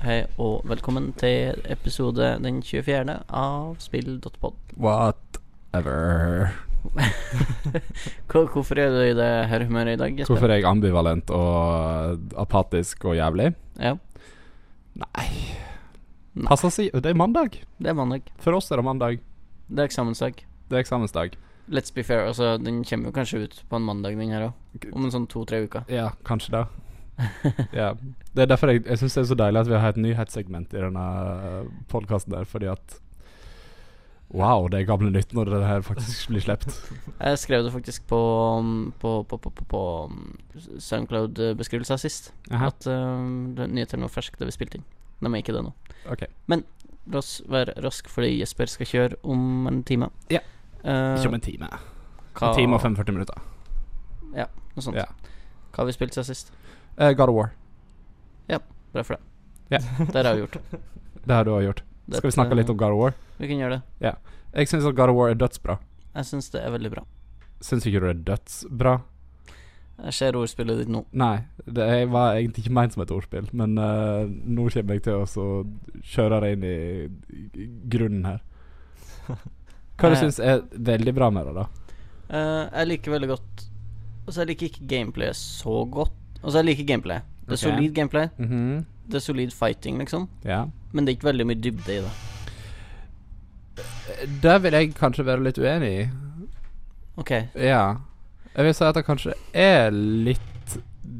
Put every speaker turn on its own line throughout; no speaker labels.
Hei og velkommen til episode den 24. av spill.pod.
Whatever.
Hvor- Hvorfor er du i det her humøret i dag? Jesper?
Hvorfor er jeg ambivalent og apatisk og jævlig?
Ja,
Nei
Nei.
Pass å si Det er mandag.
det er mandag.
For oss er det mandag.
Det er eksamensdag.
Det er eksamensdag.
Let's be fair, altså den kommer jo kanskje ut på en mandag, den her òg. Om en sånn to-tre uker.
Ja, kanskje det. ja. Det er derfor jeg, jeg syns det er så deilig at vi har et nyhetssegment i denne podkasten der, fordi at Wow, det er gamle nytt når det her faktisk blir sluppet.
Jeg skrev det faktisk på, mm, på, på, på, på, på mm, Soundcloud-beskrivelsen sist.
Aha,
At um, det- nyhetene var ferske da vi spilte inn. De er ikke det nå.
ok.
La oss være rask fordi Jesper skal kjøre om en time.
Ja.
Eh,
Ikke om en time.
hva-
En time og 45 minutter.
Noe sånt.
Ja.
Hva har vi spilt siden sist?
Eh, God of War.
Bra for det.
Ja.
Det har vi gjort.
Det har du også gjort. Skal vi snakke litt om God of War?
Vi kan gjøre det.
Jeg syns God of War er dødsbra.
Jeg syns det er veldig bra.
Syns ikke du det er dødsbra?
Jeg ser ordspillet ditt nå.
Nei, det er- var egentlig ikke meint som et ordspill, men eh, nå kommer jeg til å så kjøre det inn i, i grunnen her. Hva du
Eh.
syns er veldig bra med det, da?
Eh, jeg liker veldig godt Altså, jeg liker ikke gameplayet så godt. Altså, jeg liker gameplay. Det er
Ok.
solid gameplay.
Mhm.
Det er solid fighting, liksom.
Ja.
Men det er ikke veldig mye dybde i det.
Der Eh, vil jeg kanskje være litt uenig i.
OK.
Ja. Jeg vil si at det kanskje er litt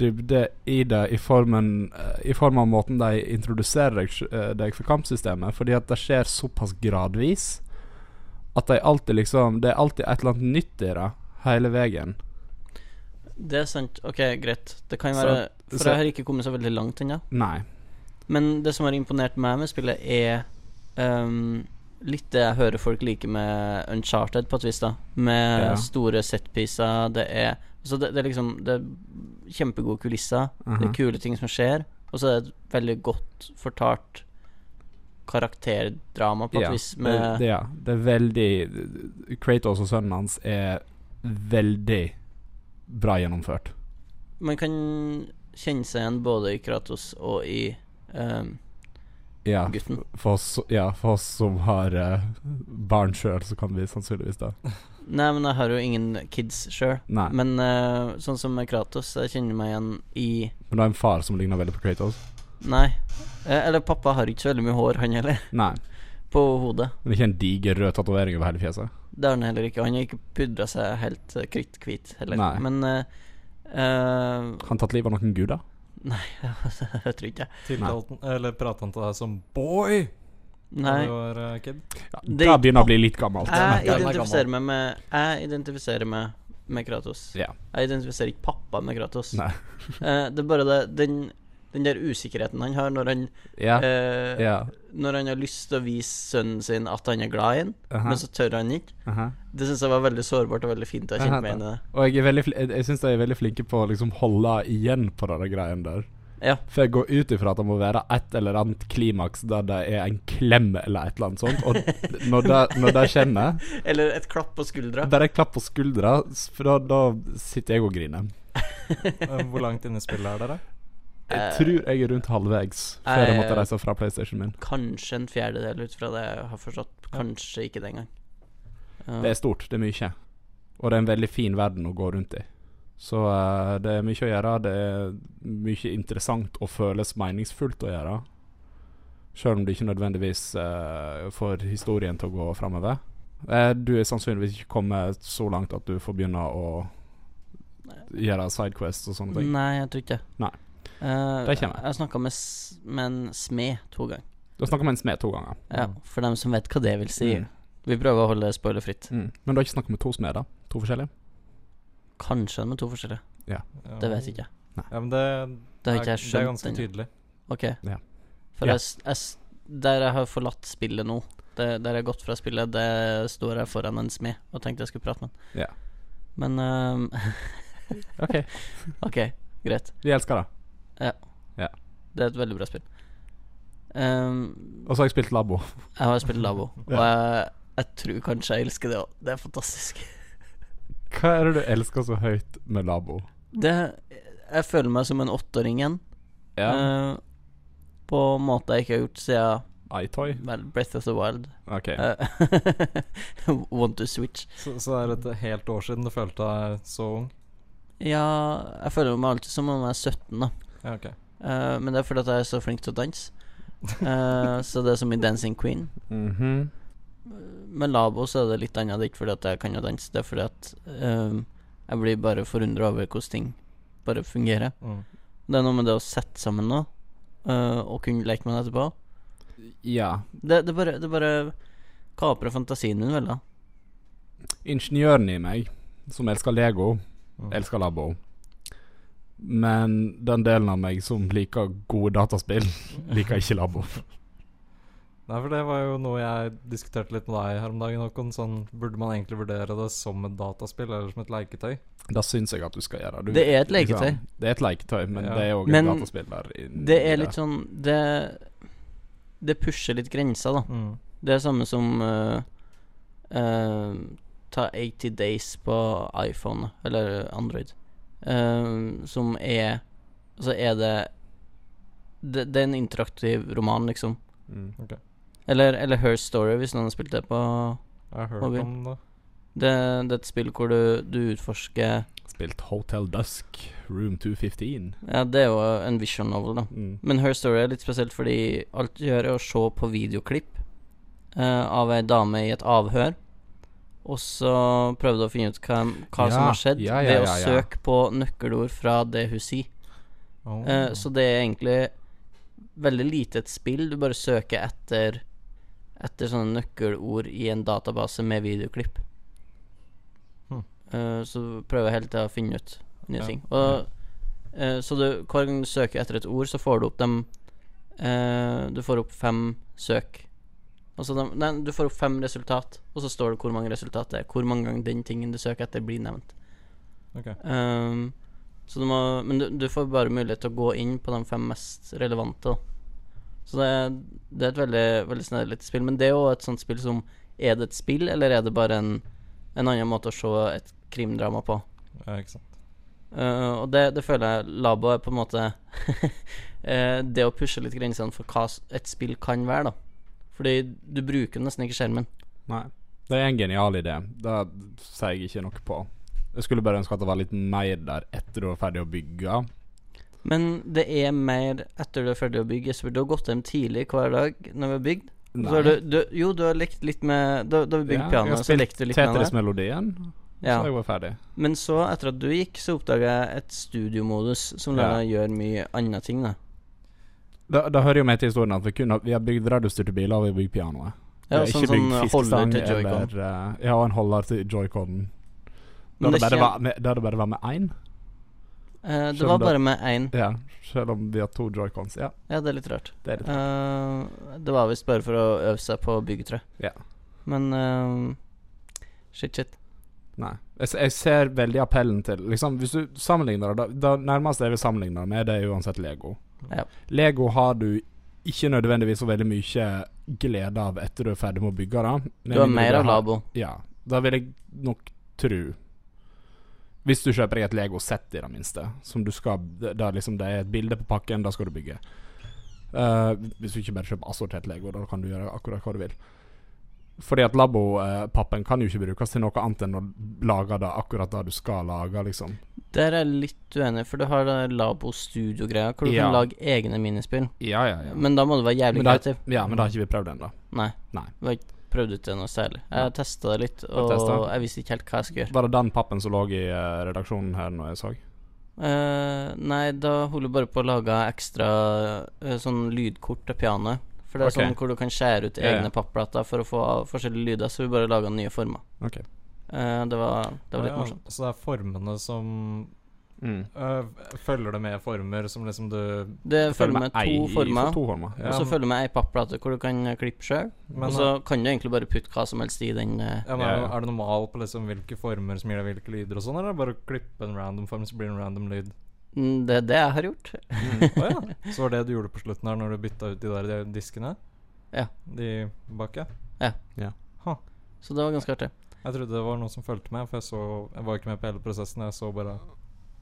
dybde i det i, formen, eh, i form av måten de introduserer deg, sj- eh, deg for kampsystemet, fordi at det skjer såpass gradvis at de alltid liksom Det er alltid et eller annet nytt i det hele veien.
Det er sant. OK, greit. Det kan
Så-
være For
så-
jeg har ikke kommet så veldig langt ennå.
Nei.
Men det som har imponert meg med spillet, er ehm, litt det jeg hører folk like med Uncharted, på et vis, da. Med
Ja.
store setpiecer. Det er Så det, det er liksom Det er kjempegode kulisser. Det
Mhm.
er kule ting som skjer. Og så er det et veldig godt fortalt karakterdrama, på et
Ja,
vis, med
det, det, ja. Det er veldig Kratos og sønnen hans er veldig bra gjennomført.
Man kan kjenne seg igjen både i Kratos og i ehm,
Ja.
gutten.
For oss, ja, for oss som har eh, barn sjøl, så kan vi sannsynligvis det.
Nei, men jeg har jo ingen kids sjøl.
Nei. Men,
Men eh, sånn som med Kratos, jeg kjenner meg igjen i
du har en far som ligner veldig på Kratos?
Nei. Eh, Eller pappa har ikke så veldig mye hår, han heller.
Nei.
På hodet.
Men ikke en diger rød tatovering over hele fjeset?
Det har han heller ikke. Han har ikke pudra seg helt eh, kritthvit heller.
Nei.
Men eh, eh,
Har han tatt livet av noen guder?
Jeg tror ikke jeg.
Tiltalte han Eller pratet han til deg som boy da
Nei.
du var eh, kid?
Ja,
Det-
det begynner å bli litt gammelt.
Jeg
den er gammel.
identifiserer meg med Jeg identifiserer meg med Kratos.
Ja.
Jeg identifiserer ikke pappa med Kratos.
Nei.
Eh, det er bare det den, den der usikkerheten han har når han
Ja.
eh,
ja.
Når han har lyst til å vise sønnen sin at han er glad i ham,
aha,
men så tør han ikke.
aha.
Det syns jeg var veldig sårbart og veldig fint. og Jeg
Aha,
kjente meg igjen i det.
Og jeg, er veldig fli- jeg, jeg syns de er veldig flinke på å liksom holde igjen på denne greien der.
Ja.
For jeg går ut ifra at det må være et eller annet klimaks der det er en klem eller et eller annet sånt. Og når det, når det skjer,
Eller et klapp på skuldra.
bare klapp på skuldra, for da, da sitter jeg og griner.
Eh, Hvor langt inne i spillet er dere?
Jeg
Eh,
tror jeg er rundt halvvegs før jeg måtte reise fra PlayStation min.
Kanskje en fjerdedel ut fra det jeg har forstått. Kanskje ikke det engang. Ja.
Det er stort, det er mye. Og det er en veldig fin verden å gå rundt i. Så eh, det er mye å gjøre, det er mye interessant og føles meningsfullt å gjøre. Selv om du ikke nødvendigvis eh, får historien til å gå framover. Eh, du er sannsynligvis ikke kommet så langt at du får begynne å gjøre sidequests og sånne ting.
Nei, jeg tror ikke det.
Nei.
Eh,
Det kommer.
Jeg snakka med, s- med en smed to ganger.
Du har snakka med en smed to ganger.
Ja,
Mm.
for dem som vet hva det vil si.
Mm.
Vi prøver å holde det spoilerfritt.
Mm. Men du har ikke snakka med to smeder? To forskjellige?
Kanskje med to forskjellige.
Ja.
Det vet jeg ikke.
Ja, men det,
Det har
er,
ikke jeg
det er
skjønt
ganske
ennå.
tydelig.
Ok.
Ja.
For
Ja.
Jeg, s- jeg, s- der jeg har forlatt spillet nå, det, der jeg har gått fra spillet, det står jeg foran en smed og tenkte jeg skulle prate med han.
Ja.
Men ehm,
OK.
OK, greit.
Vi elsker det.
Det er et veldig bra spill. Ehm,
Og så har jeg spilt Labo.
jeg har spilt Labo, og
Altså- Ja.
jeg, jeg tror kanskje jeg elsker det òg. Det er fantastisk.
Hva er det du elsker så høyt med Labo?
Det, jeg føler meg som en åtteåring igjen. Eh, på måter jeg ikke har gjort siden
iToy?
vel, Breath of the Wild.
Ok.
Eh, Want to switch.
Så, så er det et helt år siden du følte deg så ung?
Ja, jeg føler meg alltid som om jeg er 17, da.
Ja, ok.
Eh, men det er fordi at jeg er så flink til å danse. Eh, så det er som i Dancing Queen.
Mhm.
Med Labo så er det litt annet. Det er ikke fordi at jeg kan å danse, det er fordi at eh, jeg blir bare forundra over hvordan ting bare fungerer.
Mm.
Det er noe med det å sette sammen noe, eh, og kunne leke med det etterpå.
Ja.
Det, det bare, det bare kaprer fantasien min, vel, da.
Ingeniøren i meg, som elsker Lego,
Mm.
elsker Labo. Men den delen av meg som liker gode dataspill, liker ikke Labo.
Nei, for det var jo noe jeg diskuterte litt med deg her om dagen, Håkon. Sånn, burde man egentlig vurdere det som et dataspill eller som et leketøy?
Da syns jeg at du skal gjøre. Du,
Det er et
liksom,
leketøy.
det er et leketøy, men
Ja.
det er òg et
Men
dataspill der. inn
Det
i
er litt sånn Det, det pusher litt grenser, da.
Mm.
Det er samme som eh, eh, Ta 80 Days på iPhone eller Android, eh, som er Altså er det, det Det er en interaktiv roman, liksom.
Mm.
Eller, eller Her Story, hvis noen har spilt det på
Jeg har hørt
Mobil.
om det.
Det, det er et spill hvor du, du utforsker
Spilt Hotel Dusk, Room 215.
Ja, det er jo en vision novel, da.
Mm.
Men Her Story er litt spesielt fordi alt du gjør, er å se på videoklipp eh, av ei dame i et avhør. Og så prøvde å finne ut hva, hva som
Ja,
har skjedd,
ja, ja,
ved
ja,
å
ja.
søke på nøkkelord fra det hun sier.
Oh.
Eh, så det er egentlig veldig lite et spill. Du bare søker etter Etter sånne nøkkelord i en database med videoklipp.
Hmm.
Eh, så du prøver hele tida å finne ut nye
Ja.
ting. Og, eh, så du, hver gang du søker etter et ord, så får du opp dem eh, Du får opp fem søk. Altså dem- nei, du får opp fem resultat, og så står det hvor mange resultat det er. Hvor mange ganger den tingen du søker etter, blir nevnt.
Ok.
Ehm, så du må, men du, du får bare mulighet til å gå inn på de fem mest relevante. Da. Så det er, det er et veldig, veldig snedig spill. Men det er jo et sånt spill som Er det et spill, eller er det bare en, en annen måte å se et krimdrama på?
Ja, ikke sant.
Eh, og det, det føler jeg Labo er på en måte eh, Det å pushe litt grensene for hva s- et spill kan være, da. Fordi du bruker nesten ikke skjermen.
Nei. Det er en genial idé. Det sier jeg ikke noe på. Jeg skulle bare ønske at det var litt mer der etter du var ferdig å bygge.
Men det er mer etter du er ferdig å bygge. Jesper, du har gått hjem tidlig hver dag når vi har bygd. Og Så har du, du, jo, du har lekt litt med Da, da vi bygde
Ja, jeg
piano,
har
så
spilt
lekte du litt med det.
Tetris-melodien,
Ja.
så jeg var ferdig.
Men så, etter at du gikk, så oppdaga jeg et studiomodus som lar
Ja.
deg gjøre mye andre ting. da
Da, da hører jo med til historien at vi, kun har, vi har bygd radiostyrte biler, og vi har bygd pianoet. Vi
Ja,
har
sånn
ikke bygd
sånn holder
fiskestang
til joycon.
eller, eh, Ja, en holder til joyconen.
Men
Der
det,
det bare
kjem,
var med- der det bare var med én.
eh, det
skjønner
var
du.
bare med én.
Ja, selv om vi har to joycons. Ja,
Ja, det er litt rart.
det er det.
Eh, det var visst bare for å øve seg på å bygge tre.
Ja.
Men eh, shit, shit.
Nei. Jeg, s- jeg ser veldig appellen til liksom, Hvis du sammenligner det, da, da nærmeste jeg vil sammenligne det med, det er uansett Lego.
Ja.
Lego har du ikke nødvendigvis så veldig mye glede av etter du er ferdig med å bygge det.
Du har mer av
labo
labo.
Ja, da vil jeg nok tro Hvis du kjøper deg et Lego-sett i det minste Som du skal det- det er liksom, Det er et bilde på pakken, da skal du bygge Eh, Hvis du ikke bare kjøper assortert Lego Da kan du gjøre akkurat hva du vil Fordi at labo-pappen kan jo ikke brukes til noe annet enn å lage det akkurat det du skal lage liksom.
Der er jeg litt uenig, for du har det labo-studio-greia, hvor du
Ja.
kan lage egne minispill.
Ja, ja, ja Men,
Men da må du være jævlig
det,
kreativ.
ja, men det har ikke vi prøvd enda
Nei.
Nei.
Jeg har ikke prøvd ut det noe særlig. Jeg
Nei.
har testa det litt,
har
og
testet.
jeg visste ikke helt hva jeg skulle gjøre.
Var det den pappen som lå i eh, redaksjonen her når jeg så?
Eh, nei, da holder jeg bare på å lage ekstra eh, sånn lydkort til pianoet. For det er
Ok.
sånn hvor du kan skjære ut
Ja, ja.
egne papplater for å få forskjellige lyder, så vi bare laga nye former.
Ok.
Eh, det, var, det var litt
Ja,
morsomt.
Så det er formene som
Mm.
øh, Følger det med former som liksom du
Det følger med
ei
to
i- for
former,
To former ja. eh,
og så følger med ei papplate hvor du kan eh, klippe sjøl.
Men,
Og så kan du egentlig bare putte hva som helst i den. eh,
ja, men
Ja,
er,
ja.
det- er det noe mal på liksom hvilke former som gir deg hvilke lyder og sånn, eller er det bare å klippe en random form, så blir det en random lyd?
mm, Det er det jeg har gjort.
Å ja. Så var det du gjorde på slutten her, når du bytta ut de der de diskene?
Ja.
De bak, ja?
Så det var ganske artig.
Jeg trodde det var noen som fulgte med, for jeg så Jeg var ikke med på hele prosessen, jeg så bare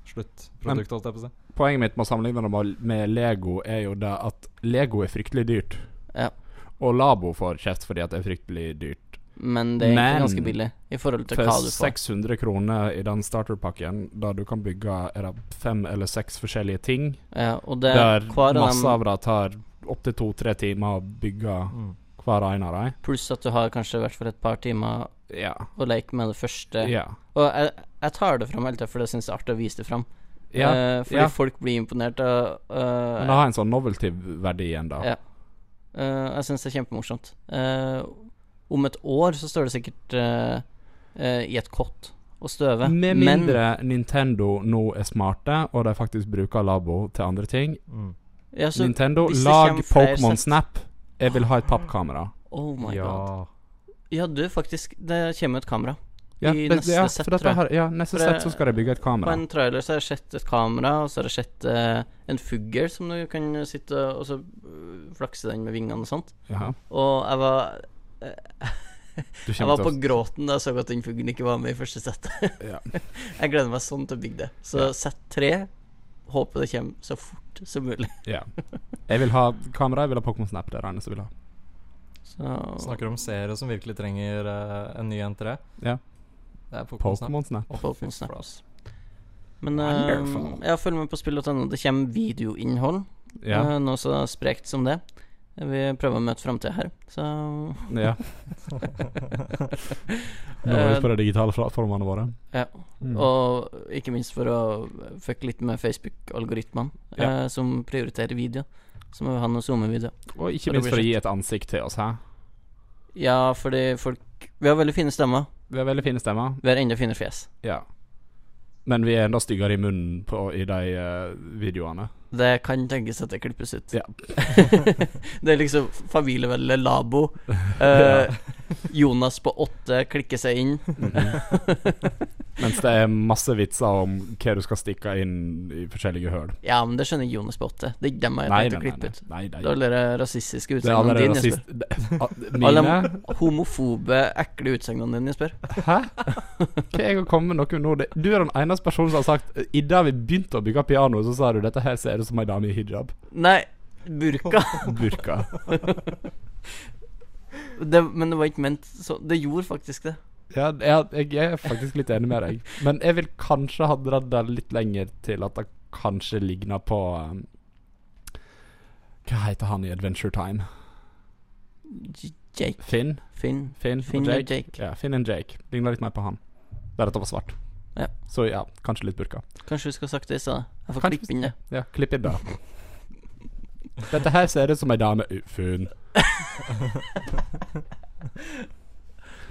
sluttprodukt, holdt jeg på å si.
Poenget mitt med å sammenligne det med- med Lego er jo det at Lego er fryktelig dyrt.
Ja.
Og Labo får kjeft fordi at det er fryktelig dyrt.
Men det er egentlig
Men-
ganske billig i forhold til hva
For
du får.
600 kroner i den starterpakken, da du kan bygge er det fem eller seks forskjellige ting,
Ja, og det,
der
hver av
masse
dem,
av det tar opptil to-tre timer å bygge
Mm.
hver ene av dem.
pluss at du har kanskje vært for et par timer
Ja.
å leke med det første.
ja.
Og jeg, jeg tar det fram hele tida, for det syns jeg er artig å vise det fram.
ja.
Eh, fordi
ja.
folk blir imponert. Og, eh,
Men det har en sånn novelty-verdi igjen, da.
Ja. Eh, jeg syns det er kjempemorsomt. Eh, om et år så står det sikkert eh, eh, i et kott og støver.
Med
men-
mindre Nintendo nå er smarte, og de faktisk bruker Labo til andre ting.
Mm.
ja, så,
Nintendo,
hvis det
lag
kommer flere
Pokémon
sett- Ah.
Snap. Jeg vil ha et pappkamera.
Oh my
ja.
god. Ja, du, faktisk. Det kommer et kamera.
Ja,
I
det-
neste
ja,
sett,
for dette
tror jeg.
her- Ja, neste
For det-
sett så skal de bygge et
På
kamera.
en trailer så har jeg sett et kamera, og så har jeg sett eh, en fugl som du kan sitte og så øh, flakse den med vingene og sånt.
Ja.
Og jeg var,
Du
jeg
kommer
var
til
på
å
gråten da jeg så at den fuglen ikke var med i første settet.
ja.
Jeg gleder meg sånn til å bygge det. Så
Ja.
sett tre. Håper det kommer så fort som mulig.
ja. Jeg vil ha kamera, jeg vil ha Pokémon Snap. Det er det eneste jeg vil ha.
Så
Snakker om seere som virkelig trenger eh, en ny N3.
Ja.
Det er Pokémon Snap.
Pokémon Snap.
Å, fy
Pokémon
flate.
Snaps. Men
Wonderful.
eh, jeg følger med på spill.no. Det kommer videoinnhold.
Ja.
eh, noe så sprekt som det. Vi prøver å møte framtida her, så
ja. Nå er vi på de digitale plattformene våre.
Eh, Ja.
Mm.
Og ikke minst for å fucke litt med Facebook-algoritmene,
Ja.
eh, som prioriterer video. Så må vi ha noe SoMe-video.
Og ikke
og det
minst
blir
for å gi et ansikt til oss, hæ.
Ja, fordi folk Vi har veldig fine stemmer.
Vi har veldig fine stemmer.
Vi har enda finere fjes.
Ja. Men vi er enda styggere i munnen på, i de eh, videoene.
Det kan tenkes at det klippes ut.
Ja.
det er liksom familieveldet Labo. Eh, Jonas på åtte klikker seg inn.
Mhm. Mens det er masse vitser om hva du skal stikke inn i forskjellige høl.
Ja, men det skjønner Jonas på åtte. Det er ikke dem jeg har
Nei,
tenkt å
nei, nei.
klippe
nei,
ut.
nei, nei.
Det er alle de rasistiske
Det er
utsegnene
allerede
dine. Jesper.
rasist... det- ah,
Alle
Mine?
de homofobe, ekle utsegnene dine, Jesper.
Hæ? Hva er jeg å komme med noe nå? Det- Du er den eneste personen som har sagt Idet vi begynte å bygge piano, så sa du dette her ser ut som ei dame i hijab.
Nei, burka.
Burka.
det, men det var ikke ment så Det gjorde faktisk det.
Ja, ja, jeg er faktisk litt enig med deg. Men jeg vil kanskje ha dratt det litt lenger til at det kanskje ligner på um, Hva heter han i Adventure Time?
J- Jake.
Finn?
Finn.
Finn,
Finn
og
og
Jake?
Jake.
Ja, Finn og Jake. Ligner litt mer på han. Der dette var svart.
Ja.
Så ja, kanskje litt burka.
Kanskje du skulle ha sagt det i stedet. Jeg får
Kanskje
klippe inn det.
Ja, klipp inn det. Dette her ser ut som ei dame Funn.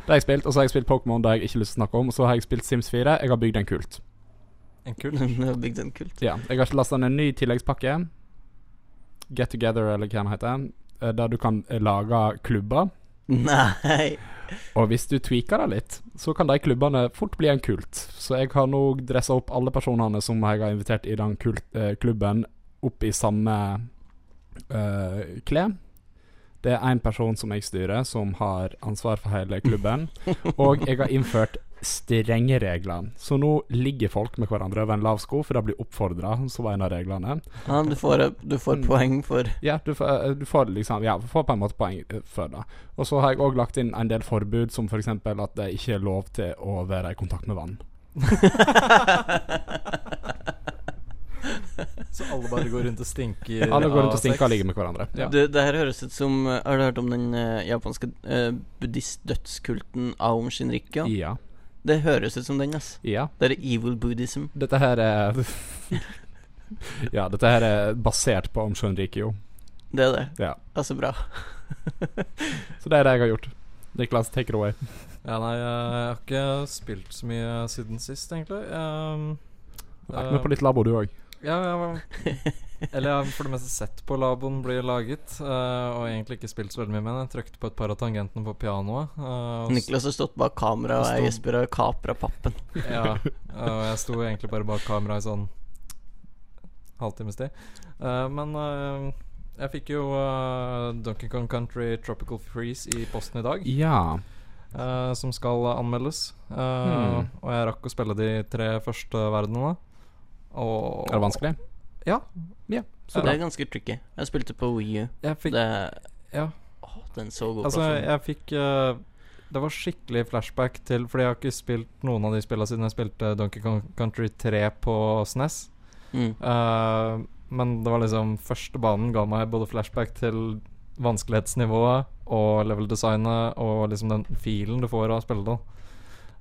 Det har jeg spilt, og så har jeg spilt Pokémon, det har jeg ikke lyst til å snakke om. Og så har jeg spilt Sims 4. Jeg har bygd en kult.
En kult.
Du har bygd en kult.
Ja, jeg har lasta ned en ny tilleggspakke. Get Together, eller hva den heter. eh, Der du kan eh, lage klubber.
Nei.
Og hvis du tweaker det litt, så kan de klubbene fort bli en kult. Så jeg har nå dressa opp alle personene som jeg har invitert i den kult, eh, klubben, opp i samme eh, klær. Det er én person som jeg styrer, som har ansvar for hele klubben. Og jeg har innført strenge regler. Så nå ligger folk med hverandre over en lav sko, for det blir oppfordra som en av reglene.
Ja, du får, du får
Mm.
poeng for
Ja, du, får- eh, du får liksom Ja, du får på en måte poeng eh, for det. Og så har jeg òg lagt inn en del forbud, som f.eks. at det ikke er lov til å være i kontakt med vann.
Så alle bare går rundt og stinker
Alle går
av
rundt og stinker
sex.
og ligger med hverandre. Ja.
Du, det her høres ut som eh, Har du hørt om den eh, japanske eh, buddhist-dødskulten Aum Shinrikyo?
ja.
Det høres ut som den, ass.
Ja.
Det er evil buddhism.
Dette her er Ja, dette her er basert på Om Shonrikyo.
Det er det.
Ja.
Altså, bra.
Så det er det jeg har gjort. Niklas, take it away.
Ja, nei, jeg har ikke spilt så mye siden sist, egentlig. Ehm,
Vær med på litt labo, du òg.
ja, jeg var- Eller jeg har for det meste sett på laboen bli laget, eh, og egentlig ikke spilt så veldig mye med den. Jeg trykte på et par av tangentene på pianoet. eh, og s-
Niklas har stått bak kamera, og
Stå-
jeg Jesper har kapra pappen.
Ja, eh, og jeg sto egentlig bare bak kamera i sånn halvtimes tid. Eh, men eh, jeg fikk jo eh, Donkey Kong Country Tropical Freeze i posten i dag,
Ja.
eh, som skal anmeldes. Eh,
Hmm.
Og jeg rakk å spille de tre første verdenene. Og
Er det vanskelig?
Ja.
Ja,
Så
så
det
bra.
er ganske tricky. Jeg spilte på Wii U.
Jeg fikk
Det
Ja.
Åh, det er en så god
Altså,
plattform.
jeg fikk eh, Det var skikkelig flashback til Fordi jeg har ikke spilt noen av de spillene siden jeg spilte Donkey Kong Country 3 på SNES.
Mm.
Eh, men det var liksom Første banen ga meg både flashback til vanskelighetsnivået og level-designet og liksom den filen du får av å spille det.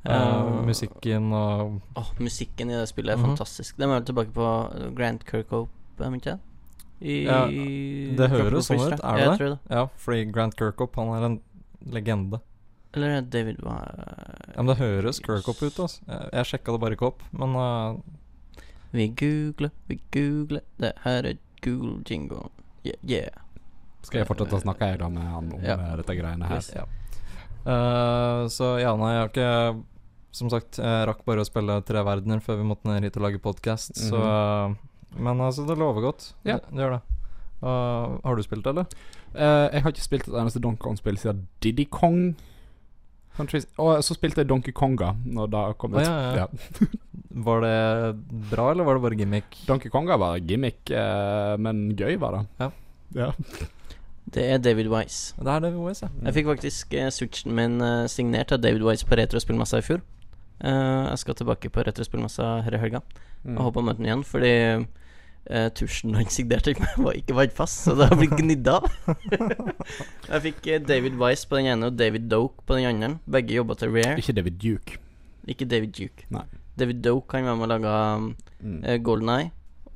Eh,
Eh,
musikken og
Åh, musikken i det spillet er
Mhm.
fantastisk. Den var vel tilbake på eh, Grant Kirkhope, er den ikke det? I
Ja, det høres
Tropical
sånn
Freeze,
ut.
tror
Er
jeg.
det
Jeg
det?
tror det.
Ja, fordi Grant Kirkhope, han er en legende.
Eller er det David var
Ja, men det høres Kirkhope ut, altså. Jeg, jeg sjekka det bare ikke opp, men eh,
Vi googler, vi googler. Det her er Google jingle. Yeah. yeah.
Skal jeg fortsette å snakke jeg da med han om
Eh, Ja.
eh, dette greiene her?
Yes.
Ja. Eh, så ja, nei, jeg har ikke Som sagt, jeg rakk bare å spille tre verdener før vi måtte ned hit og lage podkast, så eh, Men altså, det lover godt.
Ja.
Det, det gjør det. Eh, har du spilt, det, eller?
Eh, jeg har ikke spilt et eneste Donkey Kong-spill siden Diddy Kong. Country Og så spilte jeg Donkey Konga når det kom ut.
Å, ja, ja. Var det bra, eller var det bare gimmick?
Donkey Konga var gimmick, eh, men gøy var det.
Ja.
Ja.
Det er David Wise.
Det er det OS, ja.
Jeg fikk faktisk eh, switchen min eh, signert av David Wise på Retrospillmessa i fjor. Eh, jeg skal tilbake på Retrospillmessa her i helga.
Mm.
Jeg håper å møte den igjen, fordi eh, tusjen han signerte ikke med, var ikke vært fast, så det har blitt gnidd av. jeg fikk eh, David Wise på den ene og David Doke på den andre. Begge jobba til Rare,
Ikke David Duke.
ikke David Duke.
Nei.
David Doke han var med og laga
Mm.
eh, Golden Eye,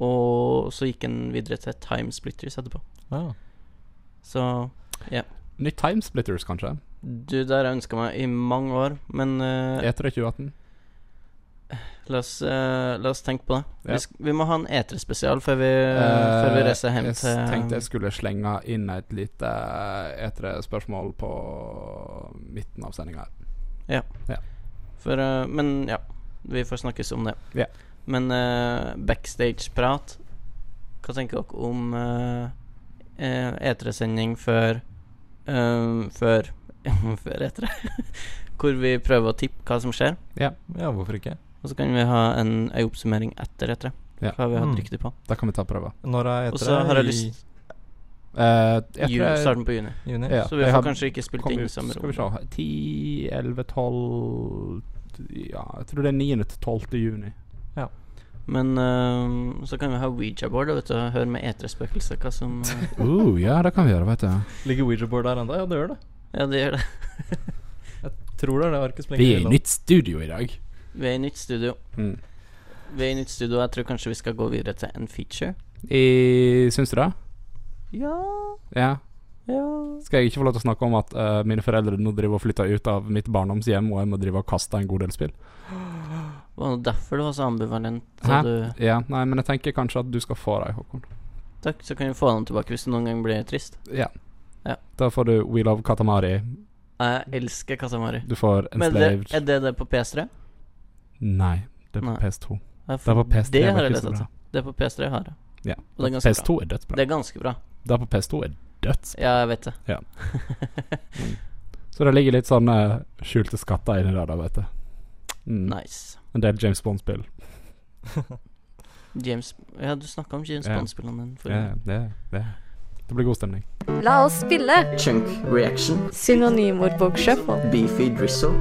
og så gikk han videre til Time Splitters etterpå.
Ja.
Så
Nytt Timesplitters, kanskje?
du, det har jeg ønska meg i mange år, men eh,
E3 2018?
la, oss, eh, la oss tenke på det.
Ja.
Vi, sk vi må ha en E3-spesial før, vi-
Eh,
før vi reiser hjem
jeg
til
tenkte jeg skulle slenge inn et lite E3-spørsmål på midten av sendinga.
For, eh, men ja, vi får snakkes om det.
Ja.
Men eh, backstage-prat Hva tenker dere om eh, eh, E3-sending før eh, Før Før E3? Hvor vi prøver å tippe hva som skjer.
ja, hvorfor ikke?
Og så kan vi ha en, en oppsummering etter E3.
Ja. E
Hva vi har
Mm.
hatt riktig på.
Da kan vi ta prøver.
Når er E3?
Og så har jeg lyst
Eh,
ju,
E3
Starten på juni.
I juni?
Ja.
Så vi
jeg har
får kanskje ikke spilt
kom
inn i
ut,
samme
Skal vi
rom.
se 10, 11, 12 Ja, jeg tror det er 9. til 12. juni.
Men eh, så kan vi ha Ouija-board og vet du, høre med E3-spøkelset hva som eh,
Uh, ja, det kan vi gjøre, vet du.
Ligger Ouija-board der ennå? Ja, det gjør det.
Ja, det gjør det.
Tror det er det arket som
Vi
ligger
er i
til-
nytt studio i dag.
Vi er i nytt studio.
Mm.
Vi er i nytt studio, og jeg tror kanskje vi skal gå videre til en feature.
I, syns du det?
Ja,
Ja.
ja
Skal jeg ikke få lov til å snakke om at eh, mine foreldre nå driver og flytter ut av mitt barndomshjem, og jeg må drive og kaste en god del spill?
Var det derfor du var så ambivalent?
Hæ?
Så du,
Ja, nei, men jeg tenker kanskje at du skal få deg, Håkon.
takk, så kan vi få dem tilbake hvis du noen gang blir trist.
Ja.
Ja.
Da får du We Love Katamari.
Jeg elsker Katamari.
Du får
Men det,
Enslaved.
er det det på PS3?
Nei, det er på
Nei.
PS2.
Ja,
Det
for
er på PS3.
det
var
har jeg
ikke så
lett etter.
bra.
Det er på PS3 jeg har det.
Ja.
Og det er ganske
PS2 er dødsbra.
bra. Det er ganske bra.
Det er på PS2 er døds.
Ja, jeg vet det.
Så det ligger litt sånne skjulte skatter inni der, da, vet du. Mm.
Nice.
En del James Bond-spill.
James Ja, du snakka om James
Ja.
Bond-spillene dine forrige
Ja, det, det. det blir god stemning.
La oss spille
Chunk Reaction,
synonymord på shuffle.
Beefy Drizzle,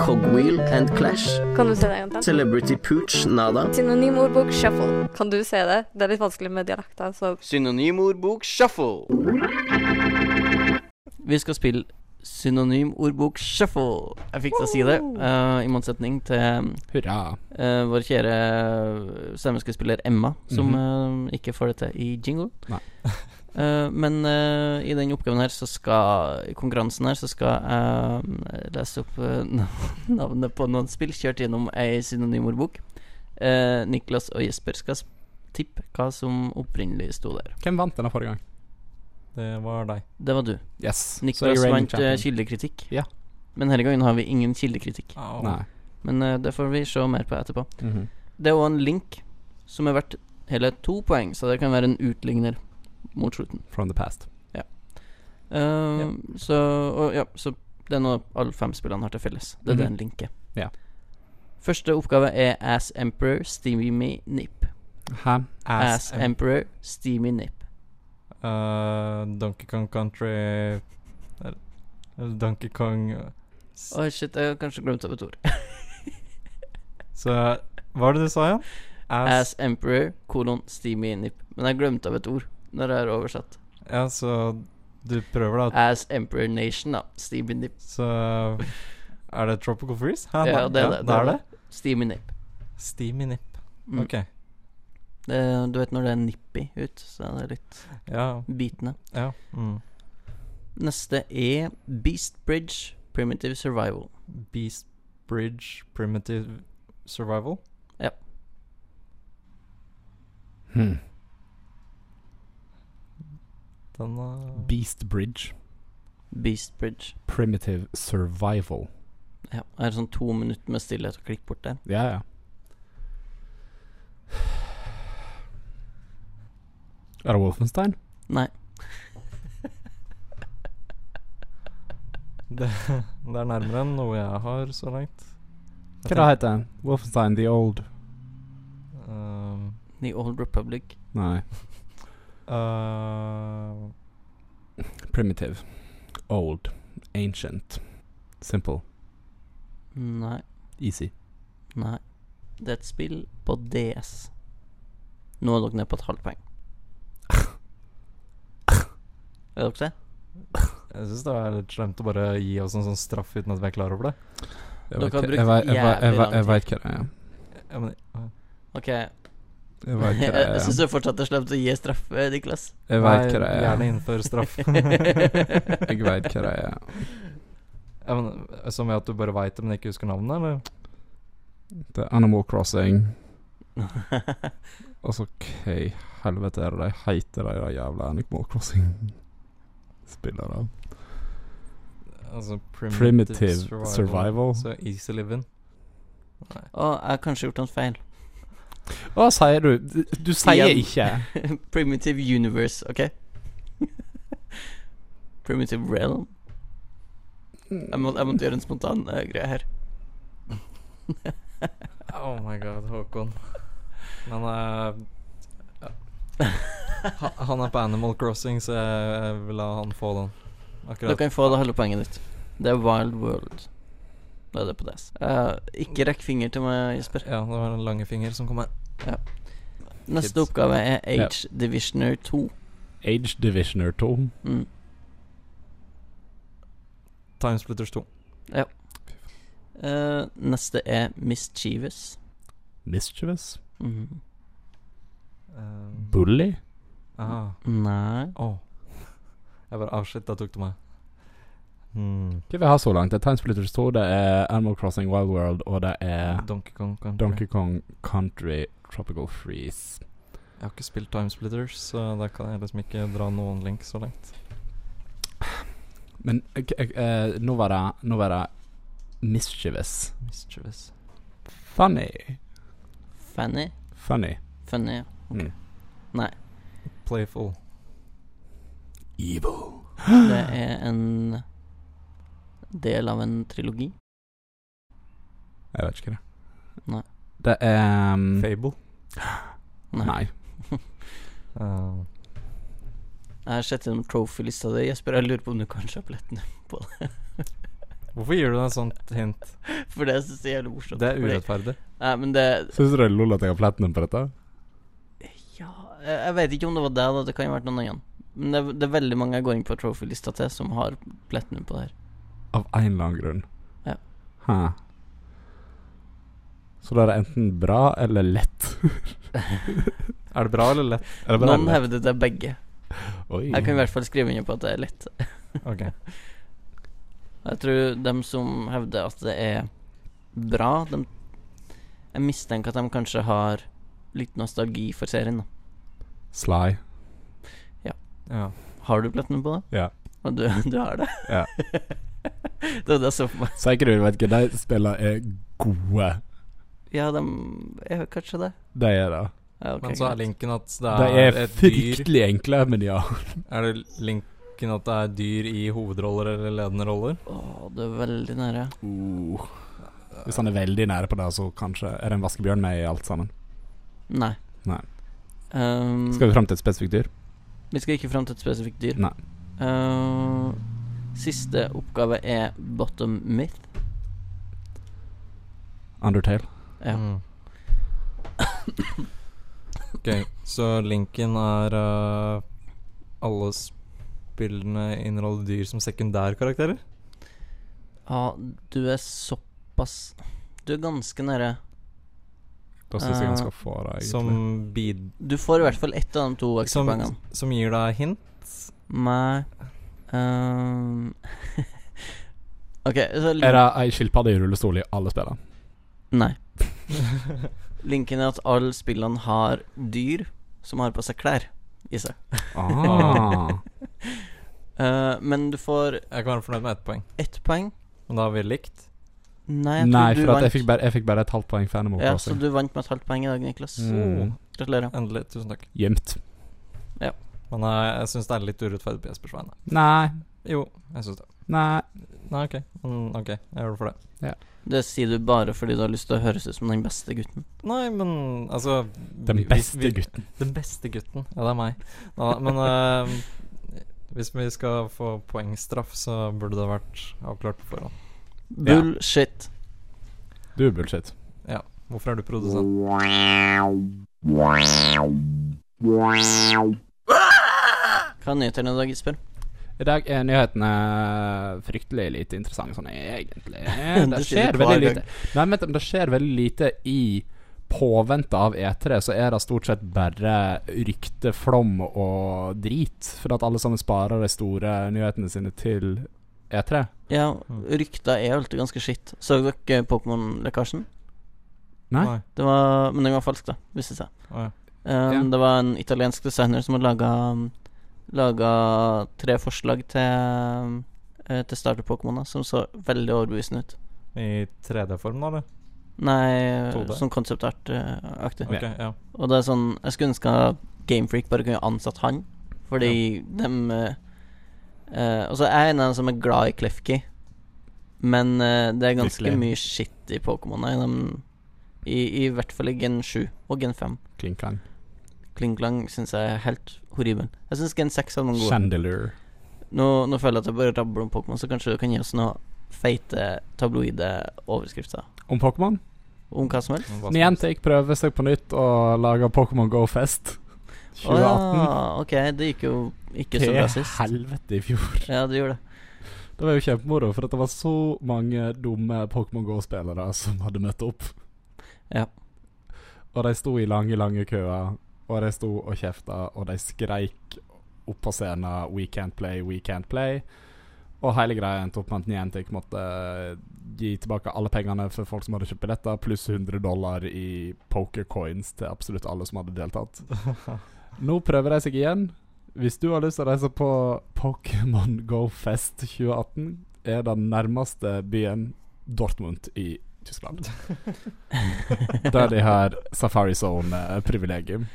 Cogwheel and Clash,
Kan du se det en gang til?
Celebrity Pooch Nada,
Synonymord på shuffle. Kan du se det? Det er litt vanskelig med dialekter, så
Synonymordbok shuffle. Vi skal spille synonymordbok shuffle. Jeg fikk til å si det, eh, i motsetning til
Hurra.
eh, vår kjære eh, stemmeskuespiller Emma, som eh, ikke får det til i jingle.
Mhm. Nei.
Eh, men eh, i den oppgaven her, så skal i konkurransen her, så skal jeg lese opp eh, navnet på noen spill kjørt gjennom ei synonymordbok. Eh, Niklas og Jesper skal s- tippe hva som opprinnelig sto der.
Hvem vant denne forrige gang?
Det var deg.
Det var du.
Yes. så jeg
Niklas
er reigning
vant eh,
champion.
kildekritikk.
Ja.
Men denne gangen har vi ingen kildekritikk.
Au.
Nei.
Men eh, det får vi se mer på etterpå.
Mhm.
Det er òg en link som er verdt hele to poeng, så det kan være en utligner mot slutten.
From the past.
Eh,
Mhm.
Så og, ja, så det er noe alle fem spillene har til felles. Det er det en link er.
Ja.
Første oppgave er Ass Emperor Steamy Me Nip.
Hæ?
Ass,
Em-
Emperor Steamy Nip.
Eh, Donkey Kong Country eller- eller Donkey Kong eh, s-
Oi, shit, jeg har kanskje glemt av et ord.
Så hva var det du sa igjen?
Ass Emperor kolon Steamy Nip. Men jeg glemte av et ord når jeg har oversatt.
Ja, så du prøver da at-
Ass Emperor Nation, da. Steamy Nip.
Så er det Tropical Freeze? Hæ,
Ja,
da-
det er det, det
Da
er
er det?
Steamy Nip.
Steamy nip.
Mm.
Ok.
Det, Eh, du vet når det er nippy ut, så er det litt
Ja.
bitende.
ja. Mm.
Neste er Beast Bridge Primitive Survival.
Beast Bridge Primitive Survival.
Hm.
Den eh,
Beast Bridge.
Beast Bridge.
Primitive Survival.
Ja, er det sånn to minutter med stillhet og klikk bort der?
Ja, ja. Er det Wolfenstein?
Nei.
det, det er nærmere enn noe jeg har så langt.
Hva det heter den? Wolfenstein The Old
Um,
The Old Republic.
Nei.
uh,
Primitive. Old. Ancient. Simple.
Nei.
Easy.
Nei. Det er et spill på DS. Nå er dere nede på et halvt poeng. Er dere det?
jeg syns det er litt slemt å bare gi oss en sånn straff uten at vi er klar over det.
Jeg
Dere har
vet hva-
brukt
jeg vet- jeg vet- jeg
jævlig
vet-
lang
Jeg veit hva det er.
Ja, men,
Ok, jeg,
Jeg vet hva det
jeg syns
er.
det fortsatt er slemt å gi straff, eh, Niklas.
Jeg vet hva det er.
Gjerne innfør straff.
Jeg vet hva det er.
ja, men, som ved at du bare veit det, men ikke husker navnet, eller?
Det er Animal Crossing. Altså, hva i helvete er det de heter, de der jævla Animal Crossing-spillerne?
Altså
Primitive survival.
Så easy living.
Å, jeg har kanskje gjort en feil.
Hva sier du? Du, du sier
Igjen.
ikke.
Primitive Universe, OK? Primitive Realm. Jeg måtte, jeg måtte gjøre en spontan eh, greie her.
Oh my god, Håkon. Men eh, ja. Ha- Han er på Animal Crossing, så jeg vil la han få den.
Du
Akkurat.
kan få det halve poenget ditt. Det er Wild World. Da er det på DS. Eh, ikke rekk finger til meg, Jesper.
Ja, det var den lange finger som kom her.
Neste
Kids.
oppgave er Age Divisioner 2.
Age Divisioner 2.
Mm.
Timesplitters 2.
Eh, neste er Mischievous.
Mischievous.
Mhm.
Um,
Bully.
aha.
Nei
Åh. Jeg bare ah, shit, der tok du meg. Hmm.
Hva vi har så langt? Det er Timesplitters 2, det er Animal Crossing Wild World, og det er
Donkey Kong Country.
Donkey Kong Country Tropical Freeze.
Jeg har ikke spilt Timesplitters, så da kan jeg liksom ikke dra noen link så langt.
Men eh, k- eh, nå var det Nå var det Mischievous.
Mischievous.
Funny.
Fanny?
Funny.
Funny.
Mm.
Playful.
Evil.
Det er en del av en trilogi.
Jeg vet ikke det.
Nei.
Det er um,
Fable.
Nei.
Uh,
Jeg har sett gjennom trophy-lista di, Jesper. Jeg lurer på om du kanskje har pletten på det.
hvorfor gir du deg sånt hint?
For det syns jeg er jævlig morsomt.
Det er
Fordi-
urettferdig.
Nei, men det
Syns du det er lol at jeg har platinum på dette?
Ja, jeg jeg vet ikke om det var deg, da. Det kan jo ha vært noen annen. Men det er, det er veldig mange jeg går inn på trophy-lista til, som har pletten på det her.
Av en eller annen grunn.
Ja.
Hæ. Så da er det enten bra eller lett.
Er det bra eller lett?
Er det bare
Noen
lett?
hevder det er begge.
Oi.
Jeg kan i hvert fall skrive under på at det er lett.
Ok.
Jeg tror dem som hevder at det er bra, dem Jeg mistenker at de kanskje har litt nostalgi for serien. da
Sly.
Ja.
Har du pletten på det?
Ja.
Og du, du har det?
Ja.
det var det jeg så for meg.
Så ikke du vet hva de spiller er gode.
Ja, de er kanskje det.
De er det.
Ja, ok,
Men så er
greit.
linken at det
De
er,
er
et dyr
fryktelig enkle, men ja.
Er det linken at det er dyr i hovedroller eller ledende roller?
Å, du er veldig nære.
Uh. Hvis han er veldig nære på det, så kanskje Er det en vaskebjørn med i alt sammen?
Nei.
Nei.
Ehm,
Skal vi fram til et spesifikt dyr?
vi skal ikke fram til et spesifikt dyr.
Nei.
Ehm, siste oppgave er bottom myth.
Undertale.
Ja.
Mm. Ok, så linken er eh, alle spillene inneholder dyr som sekundærkarakterer?
Ja, du er såpass Du er ganske nære.
Da syns jeg han
Eh,
skal få det, egentlig.
Som, bid
Du får i hvert fall ett av de to
som,
ekstrapoengene.
som gir deg hint?
Nei Ehm, Ok, så lin-
Er det ei skilpadde i rullestol i alle spillene?
Nei. Linken er at alle spillene har dyr som har på seg klær i seg.
Ah.
Eh, men du får
Jeg kan være fornøyd med ett poeng.
ett poeng.
Men da har vi likt.
Nei, jeg tror
Nei,
du
for at jeg
vant.
fikk bare, jeg fikk bare et halvt poeng for Animal
ja, så
Crossing.
du vant med et halvt poeng i dag, Niklas.
Mm.
Gratulerer.
Endelig. Tusen takk.
Gjemt.
Men eh, jeg syns det er litt urettferdig på Jesper Svein. da.
Nei,
Jo, jeg syns det.
nei.
Nei, OK. Mm, ok, Jeg gjør det for det.
Det sier du bare fordi du har lyst til å høres ut som den beste gutten.
Nei, men altså
Den
vi- vi-
beste
vi-
gutten.
Den beste gutten. Ja, det er meg. Neida, men eh, hvis vi skal få poengstraff, så burde det vært avklart på forhånd.
Bullshit.
Du er bullshit.
Ja. Hvorfor er du produsent?
Hva er nyhetene i dag, Gisper?
I dag er nyhetene fryktelig lite interessante sånn egentlig. Det
Det sier
skjer
du hver
veldig
gang.
lite. Nei, men det skjer veldig lite i påvente av E3, så er det stort sett bare rykteflom og drit. For at alle sammen sparer de store nyhetene sine til E E3.
Ja,
Mm.
rykta er jo alltid ganske skitt. Så dere eh, Pokémon-lekkasjen?
Nei.
Det var Men den var falsk, da, viste det seg.
Å, ja.
Um,
Ja.
Det var en italiensk designer som hadde laga Laga tre forslag til eh, Til starter-Pokémoner som så veldig overbevisende ut.
I 3D-form, da, eller?
Nei,
2D?
sånn konseptart-aktig.
Ok, ja.
Og det er sånn Jeg skulle ønske Gamefreak bare kunne ansatt han, fordi dem eh, eh, Og så er jeg en av dem som er glad i Klefki, men eh, det er ganske
Virkelig.
mye shit i Pokémon. I, dem- i, I hvert fall i Gen 7 og Gen 5.
Klinkang.
Klingklang syns jeg er helt horribel. Jeg syns Gen 6 hadde noen gode.
Chandelier.
Nå, nå føler jeg at jeg bare rabler om Pokémon, så kanskje du kan gi oss noen feite tabloide overskrifter
Om Pokémon?
om hva som helst?
Men hva skal vi-
Niantic prøver seg på nytt og lager Pokémon Go Fest
Å
2018.
ja, ok, det gikk jo ikke så
Til
bra sist.
helvete i fjor.
Ja, det gjorde det.
Det var jo kjempemoro, for at det var så mange dumme Pokémon GO-spillere som hadde møtt opp.
Ja.
Og de sto i lange, lange køer, og de sto og kjefta, og de skreik opp på scenen 'We can't play, we can't play'. Og hele greia endte opp med at Niantic måtte eh, gi tilbake alle pengene for folk som hadde kjøpt billetter, pluss 100 dollar i pokercoins til absolutt alle som hadde deltatt. Nå prøver de seg igjen. Hvis du har lyst til å reise på Pokémon Go Fest 2018, er den nærmeste byen Dortmund i Tyskland. Der de har eh, Safari Zone-privilegium.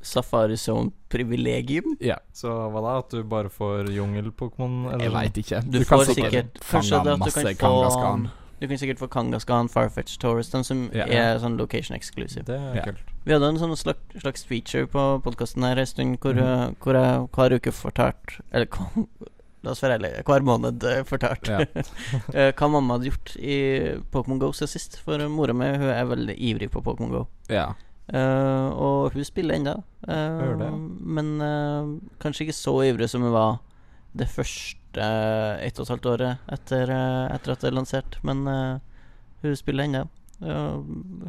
Safari Zone privilegium.
Ja,
Så hva da? At du bare får jungel-Pokémon? eller
jeg
sånn?
veit ikke.
Du
kan
får
sikkert
sikkert-
fange
først er det at du
masse
kan få-
Kangaskhan.
Du kan sikkert få Kangaskhan, Farfetch Tourist, den som
Ja.
er sånn location exclusive.
Det er
Ja.
kult.
Vi hadde en sånn slags, slags feature på podkasten her en stund hvor,
Mhm.
eh, hvor jeg hver uke fortalte Eller hva- la oss være ærlige, hver måned eh, fortalte
Ja.
eh, hva mamma hadde gjort i Pokémon Go siden sist. For mora mi hun er veldig ivrig på Pokémon Go.
Ja.
Eh, og hun spiller ennå.
gjør det, ja.
men eh, kanskje ikke så ivrig som hun var det første eh, ett og et halvt året etter, eh, etter at det er lansert. Men eh, hun spiller ennå. Eh,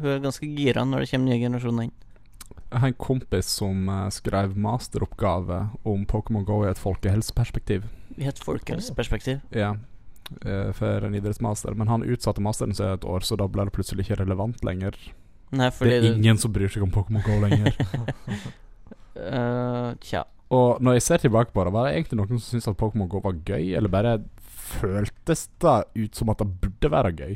hun er ganske gira når det kommer nye generasjoner inn.
Jeg har en kompis som eh, skrev masteroppgave om Pokémon Go i et folkehelseperspektiv.
I et folkehelseperspektiv.
Ja, eh, for en idrettsmaster. Men han utsatte masteren seg et år, så da ble det plutselig ikke relevant lenger.
Nei, fordi
det er
du
ingen som bryr seg om Pokémon GO lenger.
eh, Tja.
og når jeg ser tilbake på det, var det egentlig noen som syntes at Pokémon GO var gøy, eller bare føltes det ut som at det burde være gøy?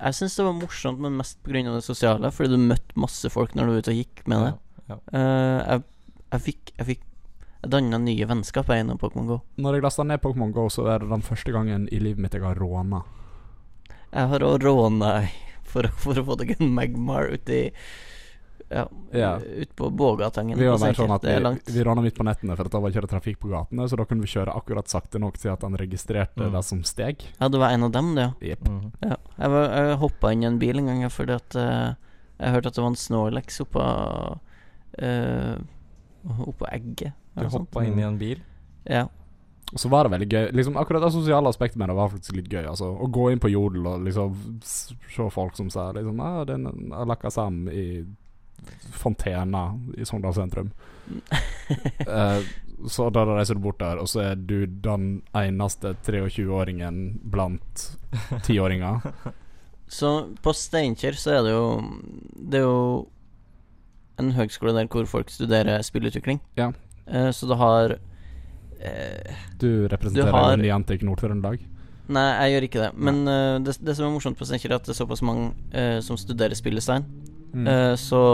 Jeg syns det var morsomt, men mest pga. det sosiale. Fordi du møtte masse folk når du var ute og gikk med det. Eh, jeg, jeg fikk Jeg, fikk, jeg danna nye vennskap jeg, gjennom Pokémon GO.
Når jeg lasta ned Pokémon GO, så er det den første gangen i livet mitt jeg har råna.
Jeg har òg råna ei for, å- for å få deg en Magmar uti Ja,
Ja.
ut på Bågatangen.
Vi
på
var
Steinkjer.
mer sånn at
det er
vi,
langt.
vi rana midt på nettene, for at det var ikke det trafikk på gatene, så da kunne vi kjøre akkurat sakte nok til at han registrerte
Mm.
det som steg.
Ja, det var en av dem, det, ja.
Jepp.
Mhm.
Ja, jeg, var- jeg hoppa inn i en bil en gang jeg, fordi at eh, jeg hørte at det var en Snorlax oppå uh, Oppå egget.
Du
eller noe sånt.
hoppa inn i en bil.
Ja.
Og så var det veldig gøy. Liksom Akkurat det sosiale aspektet med det var faktisk litt gøy. Altså. Å gå inn på Jodel og liksom s- se folk som sa liksom, ah, den er lakka sammen i fontena i Sogndal sentrum. Eh, så da reiser du bort der, og så er du den eneste 23-åringen blant 10-åringer.
Så på Steinkjer så er det jo Det er jo en høgskole der hvor folk studerer spillutvikling.
Ja.
Eh, så du har eh,
Du
Du
representerer
har-
den nyantike Nord-Trøndelag.
Nei, jeg gjør ikke det. Men eh, det, det som er morsomt på Steinkjer, er at det er såpass mange eh, som studerer spillestein.
Mm.
Eh, så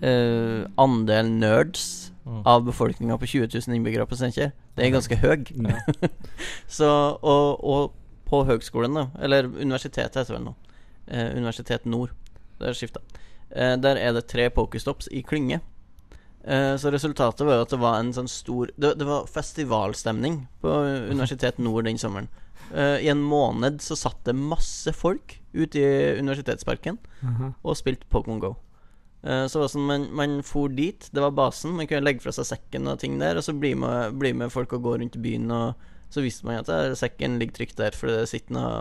eh, andelen nerds
Mm.
av befolkninga på 20 000 innbyggere på Steinkjer, det er ganske høy.
Ja.
Så, og, og på høgskolen, da, eller universitetet heter det vel nå, eh, Universitet Nord, det er skifta, eh, der er det tre pokerstops i klynge. Eh, så resultatet var jo at det var en sånn stor Det, det var festivalstemning på Universitet Nord den sommeren. Eh, I en måned så satt det masse folk ute i universitetsparken og spilte Pokémon Go. Eh, Så det var sånn, man, man for dit, det var basen, man kunne legge fra seg sekken og ting der, og så bli med, bli med folk og gå rundt i byen, og så visste man at der, sekken ligger trygt der, for det sitter noe,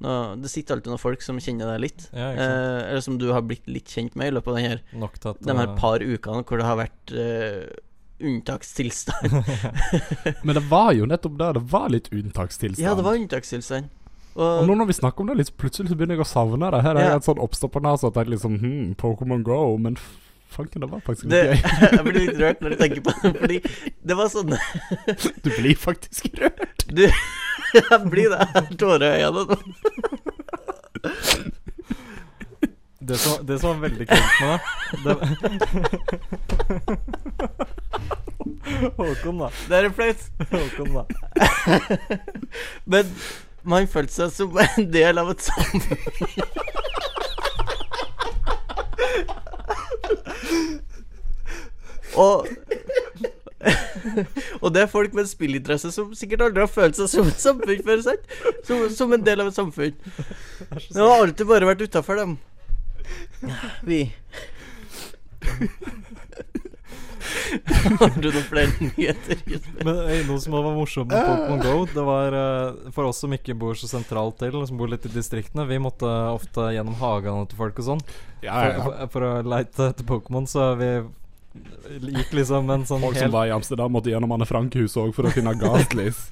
noe Det sitter alltid noen folk som kjenner deg litt,
Ja, ikke sant.
eh, eller som du har blitt litt kjent med i løpet av den her,
Nok til at
de her
eh,
par ukene hvor det har vært eh, unntakstilstand.
Men det var jo nettopp det. Det var litt unntakstilstand.
Ja, det var unntakstilstand.
Og nå når vi snakker om det litt, plutselig så begynner jeg å savne det. Her er
Ja.
jeg et sånn oppstoppa nese og tenker liksom hm, Pokémon Go, men f- fanken, det var faktisk
det,
litt
jeg blir litt rørt når jeg tenker på det, fordi det var sånn
gøy. Du blir faktisk rød.
Du Jeg blir det. Jeg har tårer i øynene.
det, som, det som var veldig kult med det, det Håkon, da.
Det er flaut.
Håkon, da.
Men man følte seg som en del av et samfunn. og og det er folk med en spillinteresse som sikkert aldri har følt seg som et samfunn før. Sant? Som, som en del av et samfunn. Det har alltid bare vært utafor dem. Vi. har du noen flere nyheter? Jesper?
Men eh, noe som også var morsomt med Pokémon Go, det var eh, for oss som ikke bor så sentralt til, som bor litt i distriktene, vi måtte ofte gjennom hagene til folk og sånn
Ja,
for,
ja, ja.
for, for å leite etter Pokémon, så vi gikk liksom en sånn
Folk som
helt
var i Amsterdam, måtte gjennom Anne Frank-huset òg for å finne Gaslis.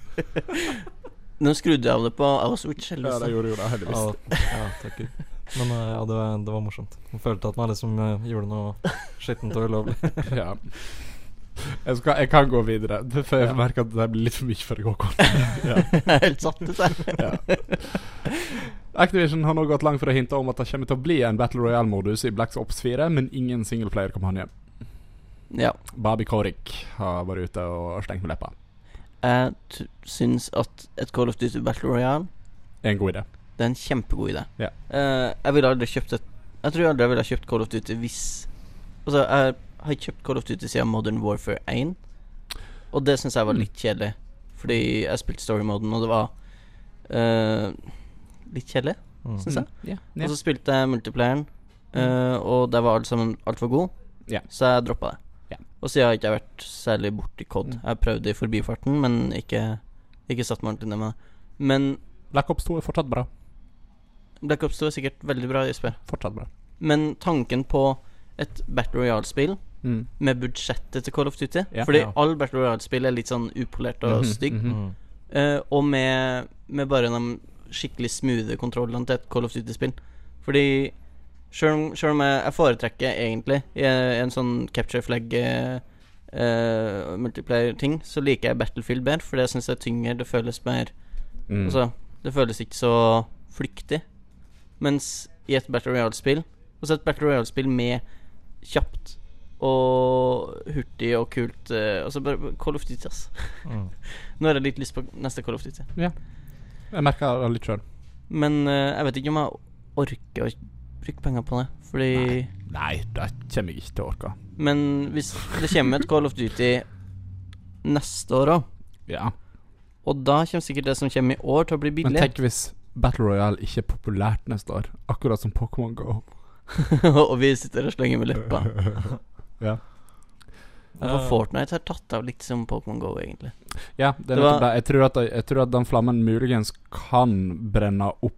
Nå skrudde jeg av det på Auschwitz.
Ja, det
heldigvis.
gjorde jo det, heldigvis.
Ja, ja, takk Gud. Men eh, ja, det var, det var morsomt. Man følte at man liksom eh, gjorde noe skittent og ulovlig.
Ja. Jeg, skal, jeg kan gå videre, for jeg merker at det blir litt for mye for deg, Håkon.
Jeg er Helt satt ut, jeg.
Activision har nå gått langt for å hinte om at det kommer til å bli en Battle Royale-modus i Black Ops 4, men ingen singleplayer-kampanje.
Ja.
Babi Korik har vært ute og stengt med leppa.
Jeg t syns at et Call of Duty Battle Royale
En god idé.
Det er en kjempegod idé.
Ja.
Eh, jeg ville aldri kjøpt et Jeg tror jeg aldri ville ha kjøpt Call of Duty hvis Altså, jeg har ikke kjøpt Call of Duty siden Modern Warfare 1, og det syns jeg var litt kjedelig. Fordi jeg spilte story-moden, og det var eh, litt kjedelig,
Mm.
syns jeg.
Ja.
Og så spilte jeg multiplayeren, eh, og der var alle sammen altfor gode,
Ja.
så jeg droppa det.
Ja. Mm.
Og siden har jeg ikke jeg vært særlig borti COD. Jeg prøvde i forbifarten, men ikke, ikke satt meg ordentlig ned med det. Men
Black Ops 2 er fortsatt bra.
Black Ops 2 er sikkert veldig bra, Jesper.
Fortsatt bra.
Men tanken på et Battle Royale-spill med budsjettet til Call of Duty
Mm. Ja.
Fordi
Ja.
all Battle Royale-spill er litt sånn upolert og
Mhm,
stygg.
mhm.
Mm.
Eh, og med, med bare de skikkelig smooth kontrollene til et Call of Duty-spill. Fordi sjøl om, selv om jeg, jeg foretrekker egentlig i en sånn capture flag eh, eh, multiplayer-ting, så liker jeg Battlefield bedre, for det syns jeg er tyngre. Det føles mer
Mm.
Altså, det føles ikke så flyktig. Mens i et Battle Royale-spill Altså et Battle Royale-spill med kjapt og hurtig og kult eh, Altså bare Call of Duty, ass.
Mm.
Nå har jeg litt lyst på neste Call of Duty.
Jeg merker det litt sjøl.
Men eh, jeg vet ikke om jeg orker å bruke penger på det. Fordi
Nei, det kommer jeg ikke til å orke.
Men hvis det kommer et Call of Duty neste år òg,
Ja.
og da kommer sikkert det som kommer i år, til å bli
Men
billig.
tenk hvis Battle Royale ikke er populært neste år, akkurat som Pokémon Go.
og vi sitter og slenger med leppa. Men for
Eh,
Fortnite har tatt av litt som Pokémon Go, egentlig.
Ja, det
Det
er nettopp
var-
det. Jeg tror, at, jeg tror at den flammen muligens kan brenne opp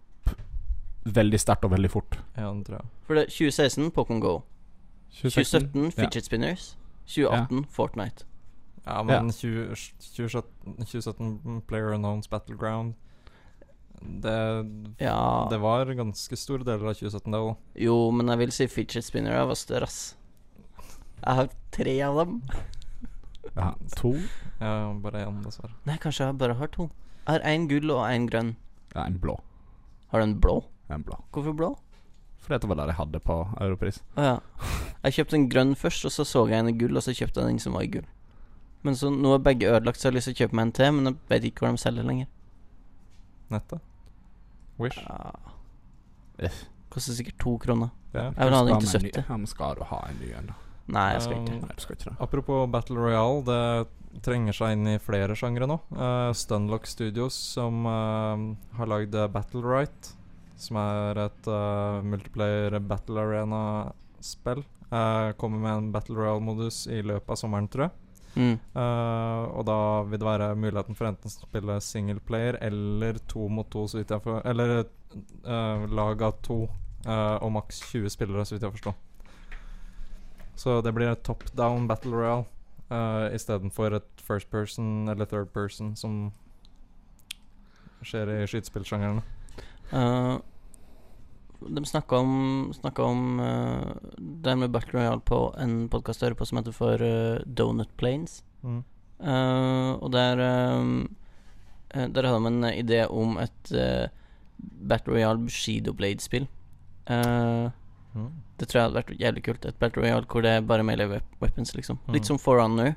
veldig sterkt og veldig fort.
ja, den tror jeg.
For det er 2016 Pokémon Go. 2017
ja.
Fidget Spinners. 2018 Fortnite.
Ja, men 20, 2017 2017 Player Unknowns Battleground det,
Ja
det var ganske store deler av 2017, det òg.
Jo, men jeg vil si Fidget Spinner var større, ass. Jeg har tre av dem.
Ja, to
Ja, bare én, dessverre.
Nei, kanskje jeg bare har to. Jeg har én gull og én grønn.
Ja, en blå.
Har du en blå?
En blå.
Hvorfor blå?
For dette var det jeg hadde på Europris.
Å ja. Jeg kjøpte en grønn først, og så så jeg en i gull, og så kjøpte jeg den som var i gull. Men så nå er begge ødelagt, så jeg har lyst til å kjøpe meg en til, men jeg vet ikke hvor de selger lenger.
Nettet. Wish.
Ja.
Eh.
Koster sikkert to kroner.
Ja.
Jeg vil ha den til
Skal med en ny-
70.
Ja, men skal du ha en ny en, da?
Nei, jeg skal ikke.
Um,
Nei, du skal ikke det.
Apropos Battle Royale, det trenger seg inn i flere sjangre nå. Eh, Stunlock Studios, som eh, har lagd eh, Battle Right, som er et eh, multiplayer battle arena-spill, eh, kommer med en Battle Royale-modus i løpet av sommeren, tror jeg.
Mm.
Eh, og da vil det være muligheten for enten å spille singleplayer eller to mot to, så vidt jeg får Eller eh, lag av to eh, og maks 20 spillere, så vidt jeg forstår. Så det blir et top down battle royale uh, istedenfor et first person eller third person som skjer i skytespillsjangeren.
Eh, de snakka om, snakket om eh, det her med Battle Royale på en podkast jeg hører på som heter for eh, Donut Planes.
Mm.
Eh, og der eh, eh, Der hadde de en idé om et eh, Battle Royale Bushido Blade-spill. Eh,
Mm.
det tror jeg hadde vært jævlig kult. Et Battle Royale hvor det er bare melee wep- weapons, liksom.
Mm.
Litt som Forerunner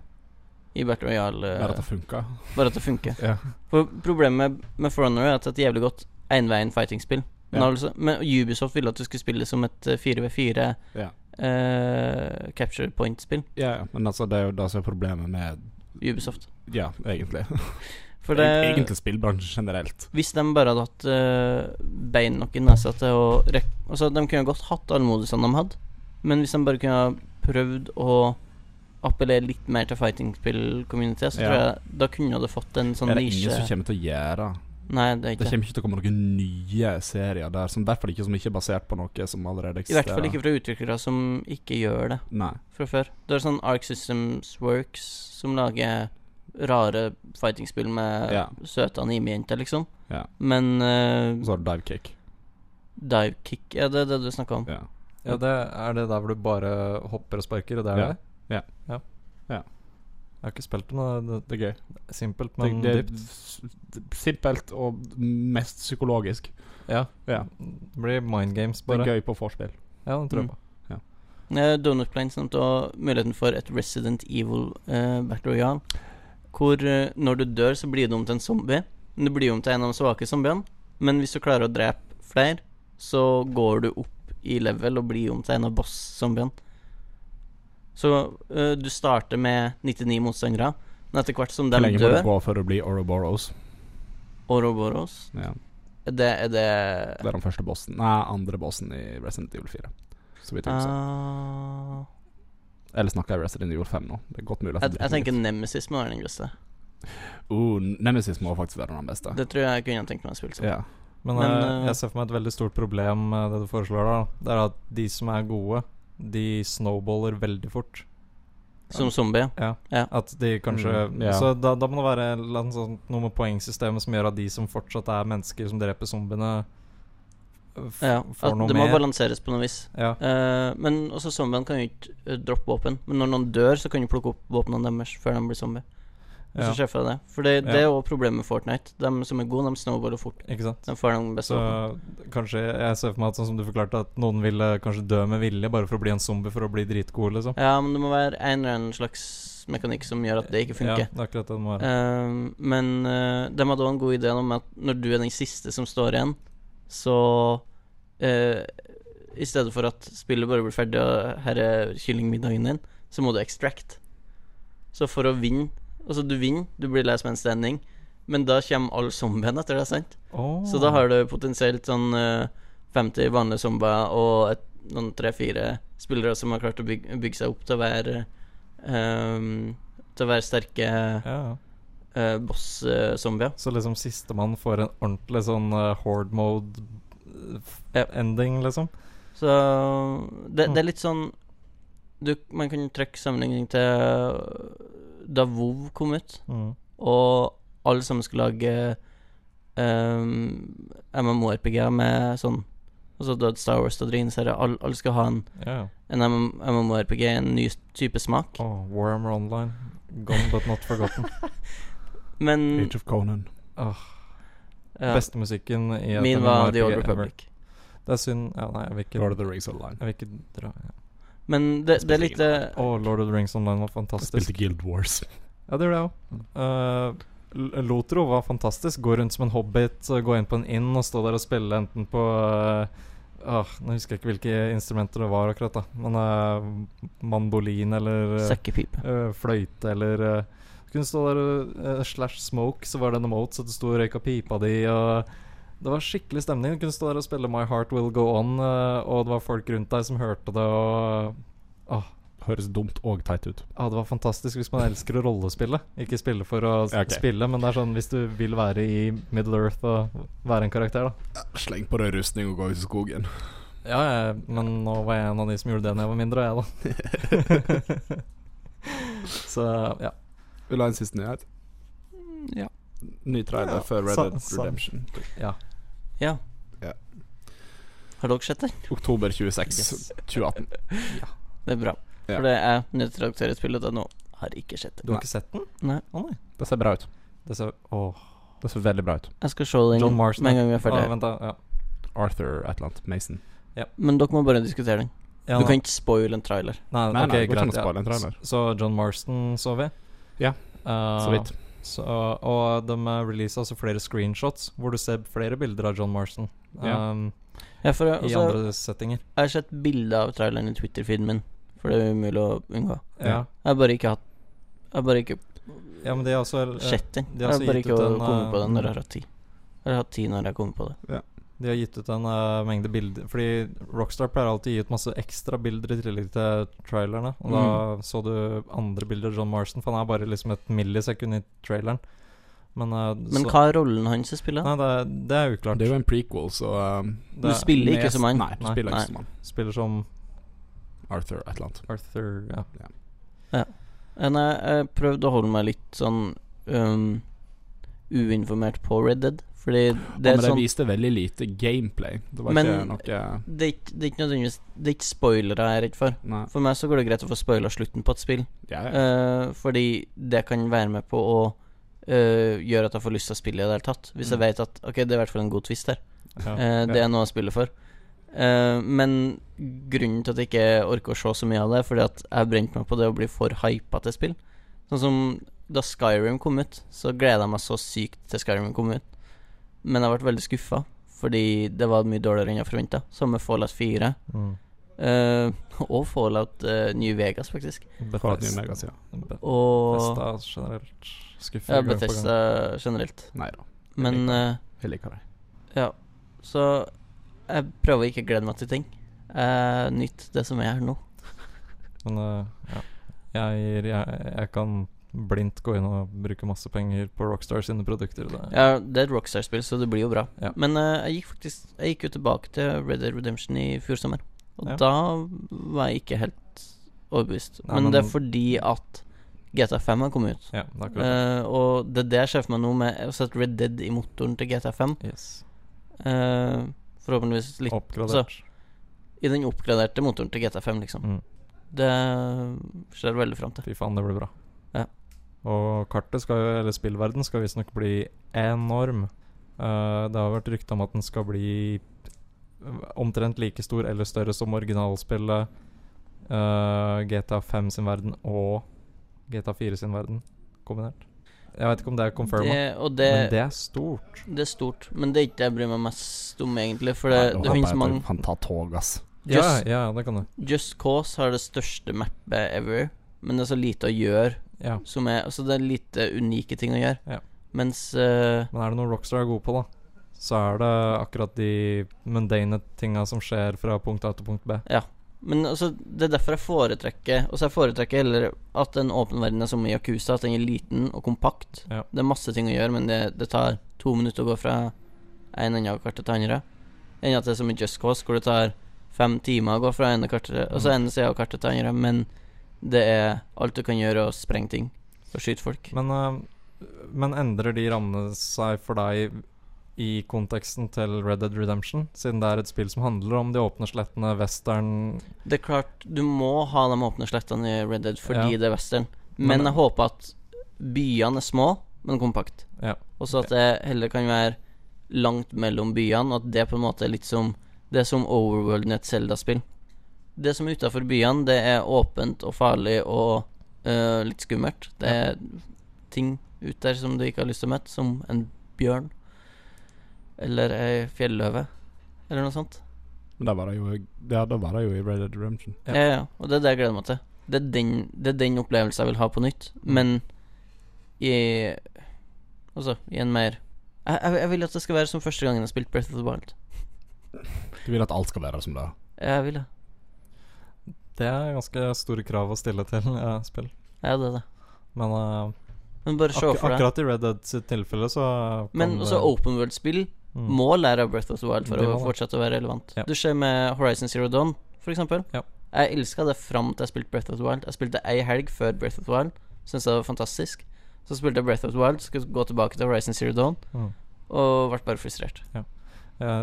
i Battle Royale. eh,
Bare at det funka.
bare at det funker.
Ja.
For problemet med, med Forerunner er at det er et jævlig godt enveien fighting-spill. Men
Ja.
altså- Men Ubisoft ville at du skulle spille som et eh, 4v4
Ja.
eh, capture point-spill.
ja, ja, men altså, det er jo det som er problemet med
Ubisoft.
Ja, egentlig.
For
Eg-
det,
Egentlig spillbransjen generelt.
hvis de bare hadde hatt eh, bein nok i nesa til å rekke Altså, de kunne godt hatt alle modusene de hadde, men hvis de bare kunne ha prøvd å appellere litt mer til fighting-spill-community, så
Ja.
tror jeg da kunne det fått en sånn
er det ingen som
nisje
kommer til å gjøre
Nei, det er ikke
Det
det.
kommer ikke til å komme noen nye serier der, som i hvert fall ikke som ikke er basert på noe som allerede
I
eksisterer.
hvert fall ikke fra utviklere som ikke gjør det.
Nei.
fra før. Du har sånn Arc Systems Works som lager rare fightingspill med
Ja.
søte animejenter, liksom.
Ja.
Men
Og
uh,
så har du Divekick.
divekick er det er det du snakker om?
Ja.
Ja, det er det der hvor du bare hopper og sparker, og det er
Ja.
det?
Ja.
ja.
Ja.
Jeg har ikke spilt det, men det,
Det er gøy.
det er simpelt,
Det,
men
det
dypt.
er s- simpelt og mest psykologisk.
Ja.
Ja.
Det blir mind games,
Det
bare.
er gøy på vorspiel.
Ja, det tror jeg
Mm.
på.
Eh, Donut Planes nevnte også muligheten for et Resident Evil eh, Battle Royale. Hvor eh, når du dør, så blir du om til en zombie. Men du blir om til en av de svake zombiene. Men hvis du klarer å drepe flere, så går du opp i level og blir om til en av boss-zombiene. Så eh, du starter med 99 motstandere, men etter hvert som
Hvor
de
lenge må du
dør
gå før du blir Ouroboros?
Oroboros
Ja.
er Det er det
Det er den første bossen. Nei, andre bossen i Resident Evil 4. Så vidt jeg husker.
Ah,
Eller snakker jeg Resident Evil 5 nå? Det er godt mulig at
jeg,
det
jeg
blir
tenker Nemesis må være den beste.
Oh, Nemesis må faktisk være den beste.
Det tror jeg jeg kunne tenkt meg å spille som.
Ja.
Men,
Men,
eh,
eh,
jeg ser for meg et veldig stort problem med det du foreslår der. da. Det er at de som er gode, de snowballer veldig fort.
Som zombie.
At de kanskje
Mm, ja.
Så da, da må det være en eller annen sånn, noe med poengsystemet som gjør at de som fortsatt er mennesker som dreper zombiene, f
Ja,
får
at
noe
det må
mer.
balanseres på noe vis.
Ja.
Eh, men også zombiene kan jo ikke eh, droppe våpen. Men når noen dør, så kan du plukke opp våpnene deres før de blir zombie. Hvis
ja.
du ser for deg det. For det, det
Ja.
er òg problemet med Fortnite. De som er gode, de snowballer fort.
Ikke sant?
De får de beste
Så
våpnene.
kanskje Jeg ser for meg at sånn som du forklarte, at noen ville kanskje dø med vilje bare for å bli en zombie for å bli dritgod, liksom.
Ja, men det må være en eller annen slags mekanikk som gjør at det ikke funker.
Ja, det er akkurat det det må være.
Ehm, Eh, men eh, de hadde òg en god idé om at når du er den siste som står igjen, Så eh, i stedet for at spillet bare blir ferdig, og her er kyllingmiddagen din, så må du extract. Så for å vinne Altså, du vinner, du blir last man standing, men da kommer alle zombiene etter deg, sant? Så da har du potensielt sånn eh, 50 vanlige zombier og et, noen tre-fire spillere som har klart å bygge, bygge seg opp til å være eh, Til å være sterke
ja.
eh, boss-zombier.
Så liksom sistemann får en ordentlig sånn eh, horde
Ja.
mode-ending, liksom.
Så det, det er litt sånn du, Man kan trekke sammenligning til eh, da WoW kom ut,
Mm.
og alle sammen skulle lage um, MMORPG-er med sånn Altså du hadde Star Wars og Drinserie. Alle, alle skulle ha en,
Ja.
en MM- MMORPG, en ny type smak.
Oh, Warhammer Online. Gone but not forgotten.
Men
Age of Conan.
ja,
Beste musikken i et
min var
MMORPG
The Old
ever.
Republic.
Det er synd ja, Nei, jeg vil ikke
Lord of the Rings Online.
Jeg vil ikke dra ja.
Men det, det er litt eh, det
Å, Lord of the Rings Online var
Jeg
fantastisk.
spilte Mm. Guild Wars.
Ja, det gjorde jeg òg. Lotro var fantastisk. Gå rundt som en hobbit, så gå inn på en inn og stå der og spille enten på eh, ah, Nå husker jeg ikke hvilke instrumenter det var akkurat, da. Men eh, mandolin eller eh,
sekkepipe.
eh, fløyte eller eh, Du kunne stå der og eh, slash smoke, så var det en emote, så du sto og røyka pipa di og Det var skikkelig stemning. Du kunne stå der og spille My Heart Will Go On, eh, og det var folk rundt deg som hørte det, og eh,
Høres dumt og teit ut.
ja, det var fantastisk hvis man elsker å rollespille. Ikke spille for å s-
Ok.
spille, men det er sånn hvis du vil være i Middle Earth og være en karakter, da.
Sleng på deg rustning og gå ut i skogen.
Ja, ja, men nå var jeg en av de som gjorde det da jeg var mindre, jeg, da. Så ja.
Vil du ha en siste nyhet?
Ja.
Ny trailer
Ja,
før Red
sa-
Dead
sa-
Redemption.
ja.
Ja.
Ja.
Har dere sett det?
Oktober 26,
Yes.
2018.
Det er bra.
Ja.
For det er nyhetsredaktør i spillet, og nå har jeg ikke sett det.
Du
Nei.
har ikke sett den?
Nei.
Å nei.
Det ser bra ut.
Det ser Åh.
Det ser veldig bra ut.
Jeg skal se den
John Marston.
med en gang vi er ferdig.
Å, vent, da. Ja.
Arthur et eller annet. Mason.
Men dere må bare diskutere den.
Ja,
Du
nå-
kan ikke spoile en trailer.
Nei,
Nei, ok,
nei, det går ikke an å
greit, ja.
spoile en trailer.
S- Så John Marston så vi.
Ja,
Ah.
Eh,
Så vidt.
Så, og de eh, releaser altså flere screenshots hvor du ser flere bilder av John Marston.
Ja.
Um,
Ja, for jeg,
I
altså,
andre settinger.
jeg har sett bilder av traileren i Twitter-feeden min, for det er umulig å unngå.
Ja.
Ja.
Jeg har bare ikke hatt Jeg har bare ikke
ja, men de har også eh,
sett den.
de
Jeg
har
har
også
bare
gitt
ikke
ut en,
kommet på
eh,
den når jeg har hatt tid. Jeg har hatt tid når jeg har kommet på det.
De har gitt ut en eh, mengde bilder Fordi Rockstar pleier alltid å gi ut masse ekstra bilder i tillegg til trailerne. Og da
Mm.
så du andre bilder av John Marston, for han er bare liksom et millisekund i traileren. Men, eh,
Men
så,
hva er rollen hans i spillet?
Nei, det er, det er uklart.
Det er jo en prequel, så um,
Du
Det er-
spiller ikke
Nes-
som han.
Nei, du
Nei.
spiller
Nei.
ikke som han.
spiller som
Arthur et eller annet.
Arthur ja.
Ja, Eh, Nei, jeg prøvde å holde meg litt sånn um, uinformert på Red Dead, fordi
Det
det er
men
sånn
det viste veldig lite gameplay. Det var eh,
Men-
ikke noe
det er, ikke, det er ikke nødvendigvis Det er ikke spoilere jeg er redd for.
Nei.
For meg så går det greit å få spoila slutten på et spill,
Ja, ja.
eh, fordi det kan være med på å eh, gjøre at jeg får lyst til å spille i det hele tatt. Hvis jeg
Mm.
vet at Ok, det er i hvert fall en god twist her.
Ja.
Eh, det er noe jeg spiller for. Eh, men grunnen til at jeg ikke orker å se så mye av det, er fordi at jeg brente meg på det å bli for hypa til spill. Sånn som da Skyrim kom ut, så gleda jeg meg så sykt til Skyrim kom ut. Men jeg ble veldig skuffa, fordi det var mye dårligere enn jeg forventa. Samme Fallout 4.
Mm.
eh, og Fallout uh, New Vegas, faktisk.
For at nye
Bethesda.
Vegas, ja.
Bethesda
Og
generelt skuffer
ja,
gang på gang.
Bethesda generelt.
Nei da.
Men eh,
Jeg liker det.
Ja, så jeg prøver ikke å glede meg til ting. Jeg nyter det som er her nå.
Men eh, ja. jeg, jeg, jeg kan blindt gå inn og bruke masse penger på Rockstar sine produkter. Det,
Ja, det er et Rockstar-spill, så det blir jo bra.
Ja.
Men eh, jeg gikk faktisk Jeg gikk jo tilbake til Red Dead Redemption i fjor sommer, og
Ja.
da var jeg ikke helt overbevist.
Nei,
men,
men-
det er fordi at GTA5 har kommet ut.
ja, det er akkurat det.
Eh, og det er det jeg ser for meg nå, med å sette Red Dead i motoren til GTA5.
Yes.
Eh, forhåpentligvis litt
Oppgradert.
i den oppgraderte motoren til GTA5, liksom.
Mm.
Det ser jeg veldig fram til.
Fy faen, det blir bra.
Ja.
Og kartet skal jo, eller spillverden skal visstnok bli enorm. Eh, det har vært rykte om at den skal bli omtrent like stor eller større som originalspillet eh, GTA 5 sin verden og GTA 4 sin verden kombinert. Jeg vet ikke om det er confirma,
Det, og
men
det,
det er stort.
det er stort. Men det er ikke det jeg bryr meg mest om, egentlig. For
Nei,
det,
nå
det
håper
finnes
jeg at
mange
Han tar tog, ass.
Ja,
Just-
ja, det kan du.
Just Cause har det største mappet ever, men det er så lite å gjøre
Ja.
som er Altså, det er lite unike ting å gjøre.
Ja.
Mens eh,
Men er det noe Rockstar er gode på, da, så er det akkurat de mundane tinga som skjer fra punkt A til punkt B.
Men altså, det er derfor jeg foretrekker Altså jeg foretrekker heller at en åpen verden er som i Yakuza, at den er liten og kompakt.
Ja.
Det er masse ting å gjøre, men det, det tar to minutter å gå fra en ende av kartet til andre. Enn at det er som i Just Cause, hvor det tar fem timer å gå fra ene kartet til Altså
Mm.
ene sida av kartet til andre, men det er alt du kan gjøre, å sprenge ting og skyte folk.
Men, eh, men endrer de rammene seg for deg i konteksten til Red Dead Redemption? Siden det er et spill som handler om de åpne slettene, western
Det er klart, du må ha de åpne slettene i Red Dead fordi
Ja.
det er western,
Men-
men jeg håper at byene er små, men kompakt.
Ja.
Og så at det heller kan være langt mellom byene, og at det på en måte er litt som Det er som Overworlden i et Zelda-spill. Det som er utafor byene, det er åpent og farlig og øh, litt skummelt. Det er ting ut der som du ikke har lyst til å møte, som en bjørn eller ei fjelløve eller noe sånt.
Men det var det jo, ja, det var det jo i Red Dead Redemption.
Ja.
Ja. ja, Og det er det jeg gleder meg til. Det er den, det er den opplevelsen jeg vil ha på nytt,
Mm.
men i Altså, i en mer jeg, jeg, jeg vil at det skal være som første gangen jeg spilte Breath of the Wild.
Du vil at alt skal være som det.
Jeg vil det.
Det er ganske store krav å stille til eh, spill.
Ja, det er det.
Men eh,
Men bare se
akkur
for deg.
akkurat i Red Dead sitt tilfelle, så kan
Men også
det-
open world-spill
Mm.
må lære av Breath of the Wild for
Det
å
må det.
fortsette å være relevant.
Ja.
Du ser med Horizon Zero Dawn, for eksempel.
Ja.
Jeg elska det fram til jeg spilte Breath of the Wild. Jeg spilte ei helg før Breath of the Wild, syntes det var fantastisk. Så spilte jeg Breath of the Wild, skulle gå tilbake til Horizon Zero Dawn,
Mm.
og ble bare frustrert.
Jeg,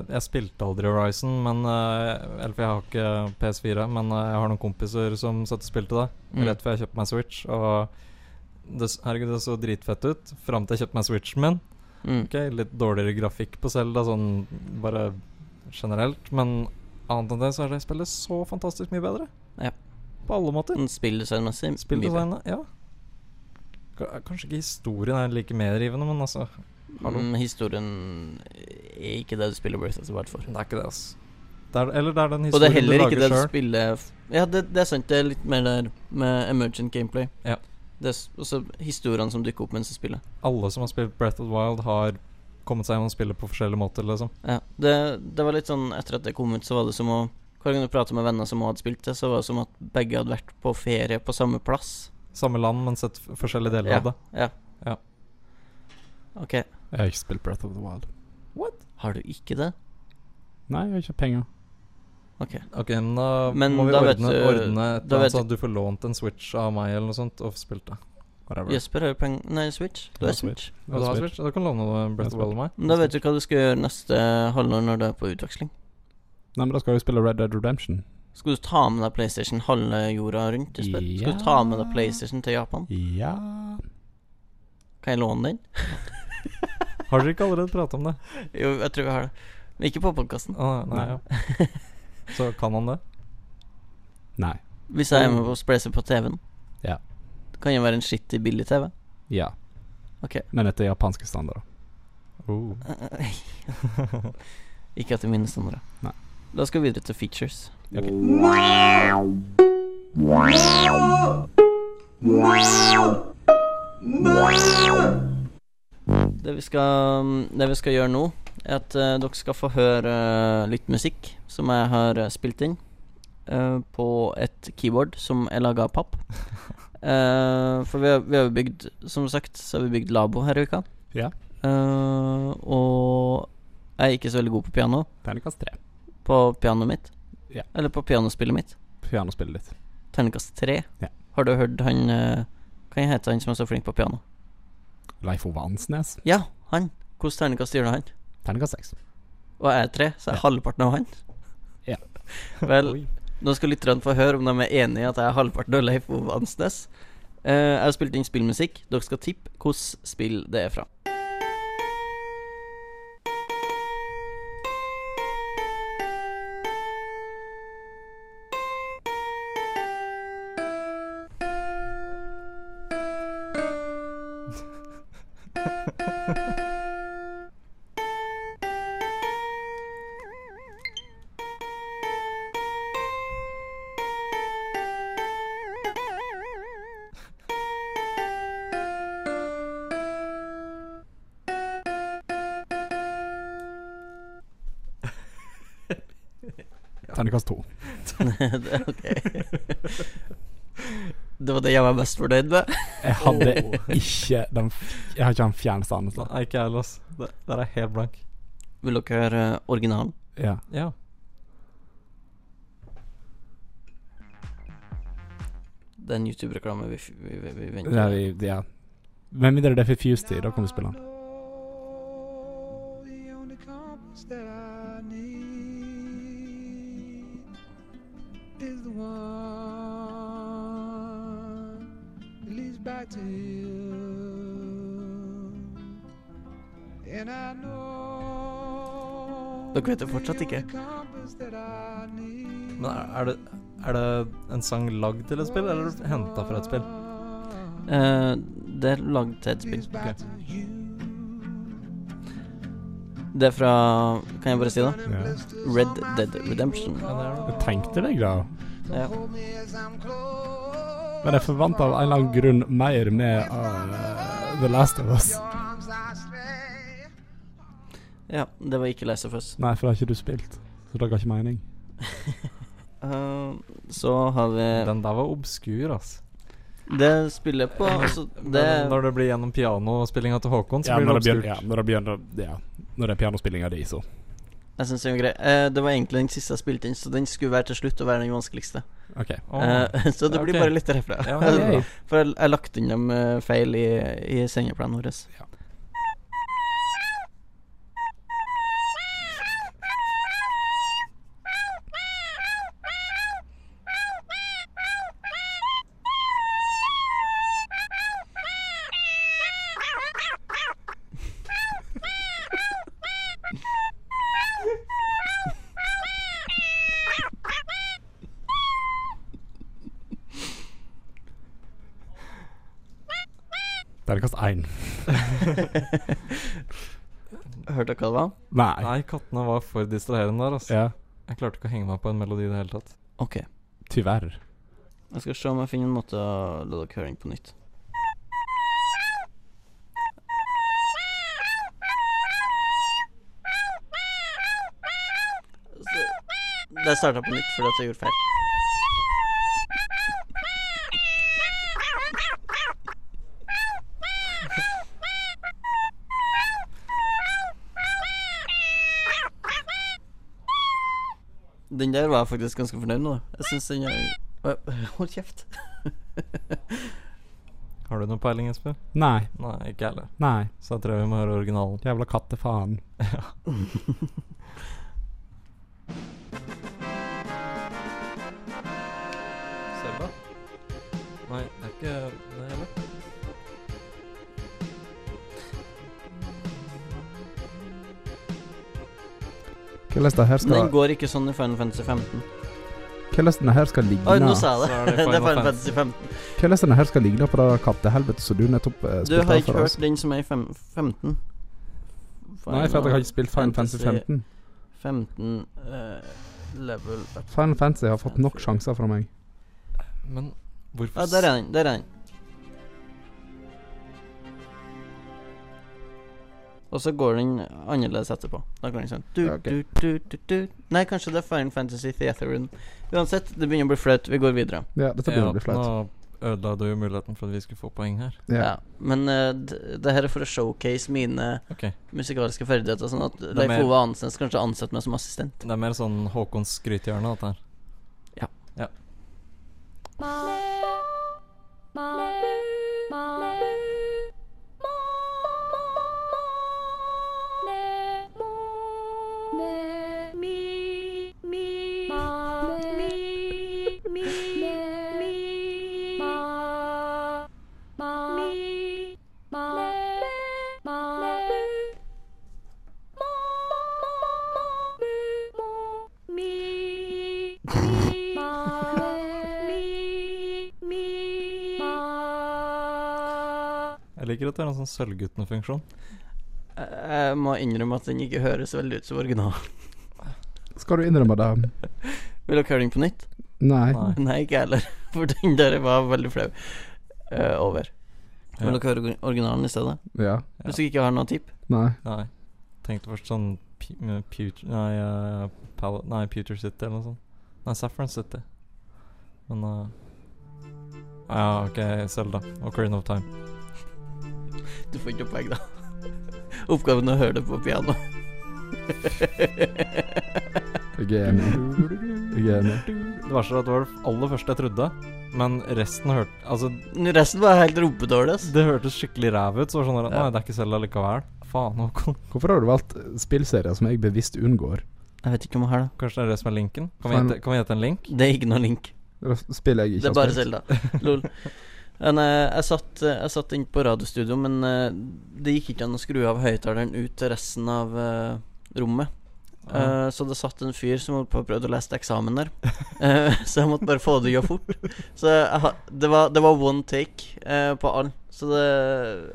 jeg spilte aldri Horizon, men eh, Eller for jeg har ikke PS4, men eh, jeg har noen kompiser som satt og spilte det.
Mm.
Rett før jeg kjøpte meg Switch. Og det, s- herregud, det så dritfett ut fram til jeg kjøpte meg Switchen min.
Mm.
Ok, Litt dårligere grafikk på Zelda, sånn bare generelt. Men annet enn det så er det spillet så fantastisk mye bedre.
Ja.
På alle måter.
Sånn Spilldesignmessig. mye bedre.
Spilldesignet, ja. K- Kanskje ikke historien er like medrivende, men altså Hallo.
Mm, historien eh, er ikke det du spiller Breath of the Wild for.
Det er ikke det, altså. Det er, eller det er den
Og det er
historien du
heller ikke det
lager
du
sjøl.
spiller f- Ja, det, det er sant. Det er litt mer der med emergent gameplay.
Ja.
Det er s- også historiene som dukker opp mens du spiller.
Alle som har spilt Breath of the Wild, har kommet seg gjennom spillet på forskjellige måter, liksom.
Ja. Det, det var litt sånn Etter at det kom ut, så var det som å Hver gang du pratet med venner som også hadde spilt det, så var det som at begge hadde vært på ferie på samme plass.
Samme land, men sett f- forskjellige deler av det.
OK,
Jeg har ikke spilt Breath of the Wild.
har du ikke det?
Nei, jeg har ikke penger.
Ok, men da
Men
må vi
da vet
ordne,
du-
ordne et
da vet
eller annet sånn at du får lånt en Switch av meg eller noe sånt, og spilt det.
Whatever.
Jesper har jo penger Nei, Switch. Du
Ja,
har Switch.
Og du har Switch, da kan du låne Breath of the Wild av meg.
Men da vet du hva du skal gjøre neste halvår når du er på utveksling.
Nei, men da skal vi spille Red Dead Redemption.
Skal du ta med deg PlayStation halve jorda rundt? Jesper? Skal
Ja.
du ta med deg PlayStation til Japan?
Ja
Kan jeg låne den?
Har dere ikke allerede pratet om det?
Jo, jeg tror vi har det. Men ikke på podkasten.
Ah, nei, ja. Så kan han det?
Nei.
Hvis jeg er med på å spleise på TV-en.
Ja.
Kan jo være en skittig billig TV.
Ja.
Ok.
Men etter japanske standarder.
Oh.
ikke etter mine standarder.
Nei.
Da skal vi videre til features. Det vi skal, mm, det vi skal gjøre nå, er at eh, dere skal få høre eh, litt musikk som jeg har eh, spilt inn eh, på et keyboard som er laga av papp. Eh, for vi har, vi har jo bygd, som sagt, så har vi bygd labo her i uka.
Ja.
Eh, og jeg er ikke så veldig god på piano.
Terningkast tre.
På pianoet mitt.
Ja.
Eller på pianospillet mitt.
Pianospillet ditt.
Terningkast tre.
Ja.
Har du hørt han eh, Hva heter han som er så flink på piano?
Leif Ove Ansnes.
Ja, han. Hvilket terningkast gir du han?
Terningkast seks.
Og jeg er tre, så jeg er halvparten av han.
Ja.
Vel, nå skal lytterne få høre om de er enig i at jeg er halvparten av Leif Ove Ansnes. Eh, jeg har spilt inn spillmusikk. Dere skal tippe hvilket spill det er fra.
Terningkast to.
det, ok. det var det jeg var mest fornøyd med.
Jeg hadde ikke den Jeg har ikke den fjerneste anelse.
Nei, ikke jeg heller, ass. Det- Der er jeg helt blank.
Vil dere høre originalen?
Ja.
Ja.
Det er en YouTube-reklame vi, f- vi, vi, vi
Det
venter
er vi, ja. Med mindre det er Fifused i, da kan vi spille den.
Dere vet det fortsatt ikke?
Men er, er, det, er det en sang lagd til et spill, eller henta fra et spill?
Eh, det er lagd til et spill.
Ok.
Det er fra Kan jeg bare si det?
Ja.
Red Dead Redemption.
Ja, det er det.
Jeg tenkte deg da.
Ja.
Men jeg forventa av en eller annen grunn mer med eh, The Last of Us.
ja, det var ikke Last of Us.
Nei, for det har ikke du spilt. Så det ga ikke mening.
Eh, så har vi
Den der var obskur, ass.
Det spillet på altså,
Men
Det
Når det blir gjennom pianospillinga til Håkon, så
Ja,
blir det
når det
obskurt.
begynner, ja, når det begynner ja. Når det er pianospillinga di, så.
Jeg synes det var grei. Eh, det var egentlig den siste jeg spilte inn, så den skulle være til slutt å være den vanskeligste.
OK.
Åh.
Eh, så det blir
Ok.
bare litt derfra.
Ja, men det er bra.
For jeg, jeg lagt inn dem eh, feil i, i sengeplanen vår.
Ja. Terningkast én.
Hørte dere hva det var?
Nei.
Nei, kattene var for distraherende der, ass.
Ja.
Jeg klarte ikke å henge meg på en melodi i det hele tatt.
Ok.
Tyverr.
Jeg skal se om jeg finner en måte å la dere høre den på nytt. Så- Det starta på nytt fordi at jeg gjorde feil. Den der var jeg faktisk ganske fornøyd med. da. Jeg synes den er Oi, Hold kjeft.
Har du noen peiling, Jesper?
Nei.
Nei, ikke jeg heller.
Nei.
Så jeg tror vi må høre originalen.
Jævla kattefaen.
Selda? Nei, det er ikke Nei, eller?
Hvordan det her
Den går ikke sånn i Final Fantasy 15.
Hvordan den her skal ligne
Oi, nå sa jeg
Så er
det.
det
Det er
Final
Final
Fantasy.
Fantasy 15.
Hvordan den her skal ligne på det kattehelvetet som du nettopp eh,
Du
spilte
har
av
ikke
for oss?
hørt den som er i fem, 15?
Nei, for at jeg har ikke spilt Final Fantasy
Fantasy.
15.
15 eh, level up.
Final Fantasy har fått nok sjanser fra meg.
Men hvorfor
Ja, der er den. Der er den. Og så går den annerledes etterpå. Da går den sånn du,
Ok.
du, du, du, du. Nei, kanskje det er Final Fantasy Theateren. Uansett, det begynner å bli flaut. Vi går videre.
Ja, dette begynner å bli flaut.
Nå ødela du jo muligheten for at vi skulle få poeng her.
Ja.
Ja.
Men eh, d- det her er for å showcase mine
Ok.
musikalske ferdigheter, sånn at
er
Leif
mer-
Ove Ansnes kanskje ansetter meg som assistent.
Det er mer sånn Håkons skrytehjørne, dette her. Jeg liker at det er en sånn Sølvgutten-funksjon.
Jeg må innrømme at den ikke høres veldig ut som original.
Skal du innrømme det?
Vil dere høre den på nytt?
Nei.
Nei.
Nei, ikke jeg heller. For den der var veldig flau eh, over. Vil
Ja.
dere høre orgi- originalen i stedet?
Ja.
Hvis dere ikke har noe tipp?
Nei.
Nei. Tenkte først sånn Pu- eh, Pewter Nei, eh, Pal- nei Pewter City eller noe sånt. Nei, Saffron City. Men eh, Ja, OK, Selda. Ocarina of Time.
Du får ikke poeng, da. Oppgaven er å høre det på piano.
Jeg er enig. Jeg er enig.
Det verste er at det var det aller første jeg trodde, men resten hørte Altså,
Resten var helt rumpedårlig. ass.
det hørtes skikkelig ræv ut, så var det sånn der,
Ja.
Nei, det er ikke Selda likevel. Faen, Håkon.
Hvorfor har du valgt spillserier som jeg bevisst unngår?
Jeg vet ikke om jeg har det.
Kanskje det er det som er linken? Kan vi
Faen.
gjette- kan vi gjette en link?
Det er ikke noe link.
Eller Spill jeg
Det
ikke
er bare Selda. Lol. Men, eh, jeg satt, eh, jeg satt inne på radiostudio, men eh, det gikk ikke an å skru av høyttaleren ut til resten av eh, rommet.
Ja.
Eh, så det satt en fyr som holdt på å prøve å lese til eksamen der. Eh, så jeg måtte bare få det gjort fort. Så jeg, ha- det, var, det var one take eh, på all. Så det,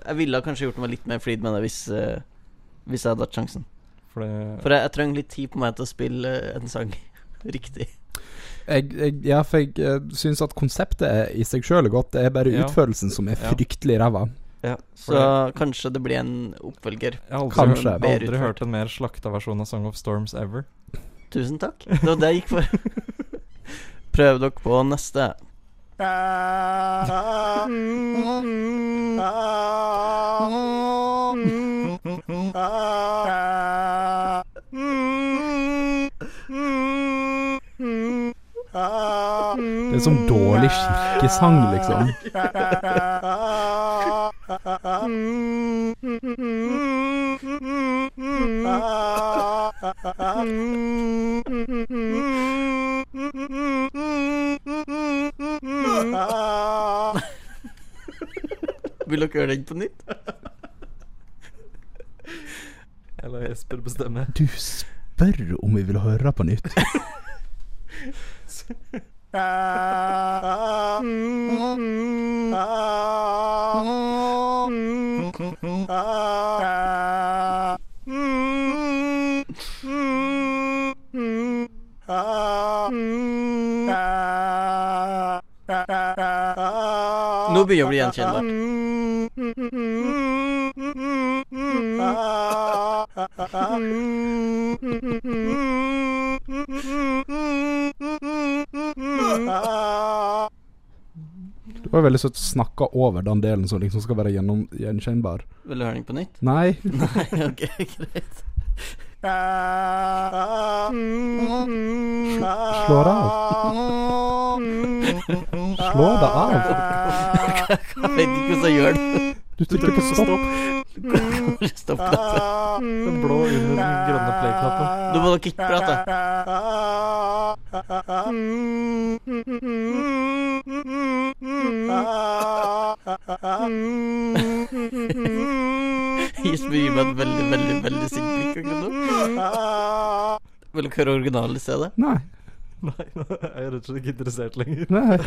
jeg ville kanskje gjort meg litt mer flid med det hvis, eh, hvis jeg hadde hatt sjansen.
Fordi
For jeg, jeg trenger litt tid på meg til å spille eh, en sang riktig.
Jeg, jeg, ja, for jeg eh, syns at konseptet er i seg sjøl godt, det er bare
Ja.
utførelsen som er
Ja.
fryktelig ræva.
Så kanskje det blir en oppfølger.
Jeg har aldri,
Kanskje.
hørt, aldri hørt en mer slakta versjon av Song of Storms ever.
Tusen takk. Det var det jeg gikk for. Prøv dere på neste.
Det er sånn dårlig skikkesang, liksom.
Mm.
Vil dere høre den på nytt?
Jeg lar Jesper bestemme.
Du spør om vi vil høre på nytt.
Nå begynner å bli gjenkjennbart.
Det var veldig søtt snakka over den delen som liksom skal være gjennom, gjenkjennbar.
Vil du høre den på nytt?
Nei.
Nei, ok, greit.
Slå det av. Slå det av.
Jeg vet ikke hvordan jeg gjør det.
Du trykker på stopp.
Bare Stopp dette.
Den blå under den grønne play-knappen.
Nå må dere ikke prate. Jesper gir meg et veldig, veldig veldig sint blikk akkurat nå. Vil dere høre originalen i stedet?
Nei.
Nei, nå er jeg rett og slett ikke interessert lenger.
Nei.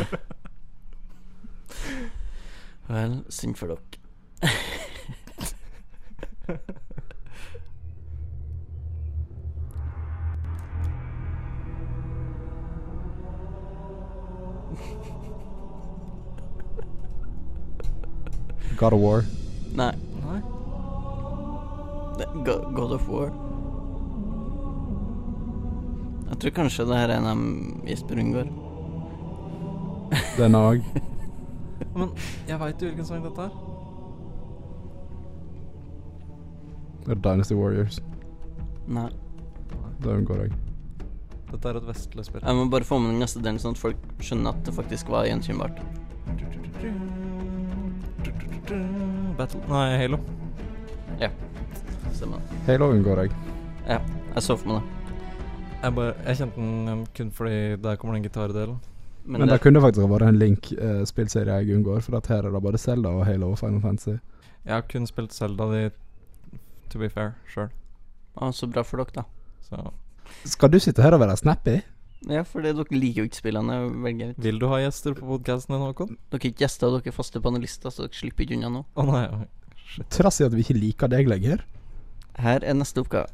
Vel, synd for dere.
God of War.
Nei.
Nei.
det- Go- God of War. Jeg tror kanskje det her er en av Jesper unngår.
Den òg.
Men jeg veit jo hvilken sang dette er.
Dynasty Warriors.
Nei.
Det unngår jeg.
Dette er et vestlig spill.
Jeg må bare få med den neste delen, sånn at folk skjønner at det faktisk var gjenkjennbart.
Battle Nei, Halo.
Stemmer det.
Halo unngår jeg.
Jeg så for meg det.
Jeg, bare, jeg kjente den um, kun fordi der kommer den gitardelen.
Men,
Men, det,
det,
kunne faktisk ha vært en Link-spillserie jeg unngår, for at her er det både Zelda og Halo og Final Fantasy.
Jeg har kun spilt Zelda de To be fair sjøl,
Å, så bra for dere, da.
så
Skal du sitte her og være snappy?
Ja, fordi dere liker jo ikke spillene. jeg Velger ut.
Vil du ha gjester på podkasten din, Håkon?
Dere er ikke gjester, dere er faste panelister, så dere slipper ikke unna nå.
Å nei. oi.
Trass i at vi ikke liker deg lenger.
Her er neste oppgave.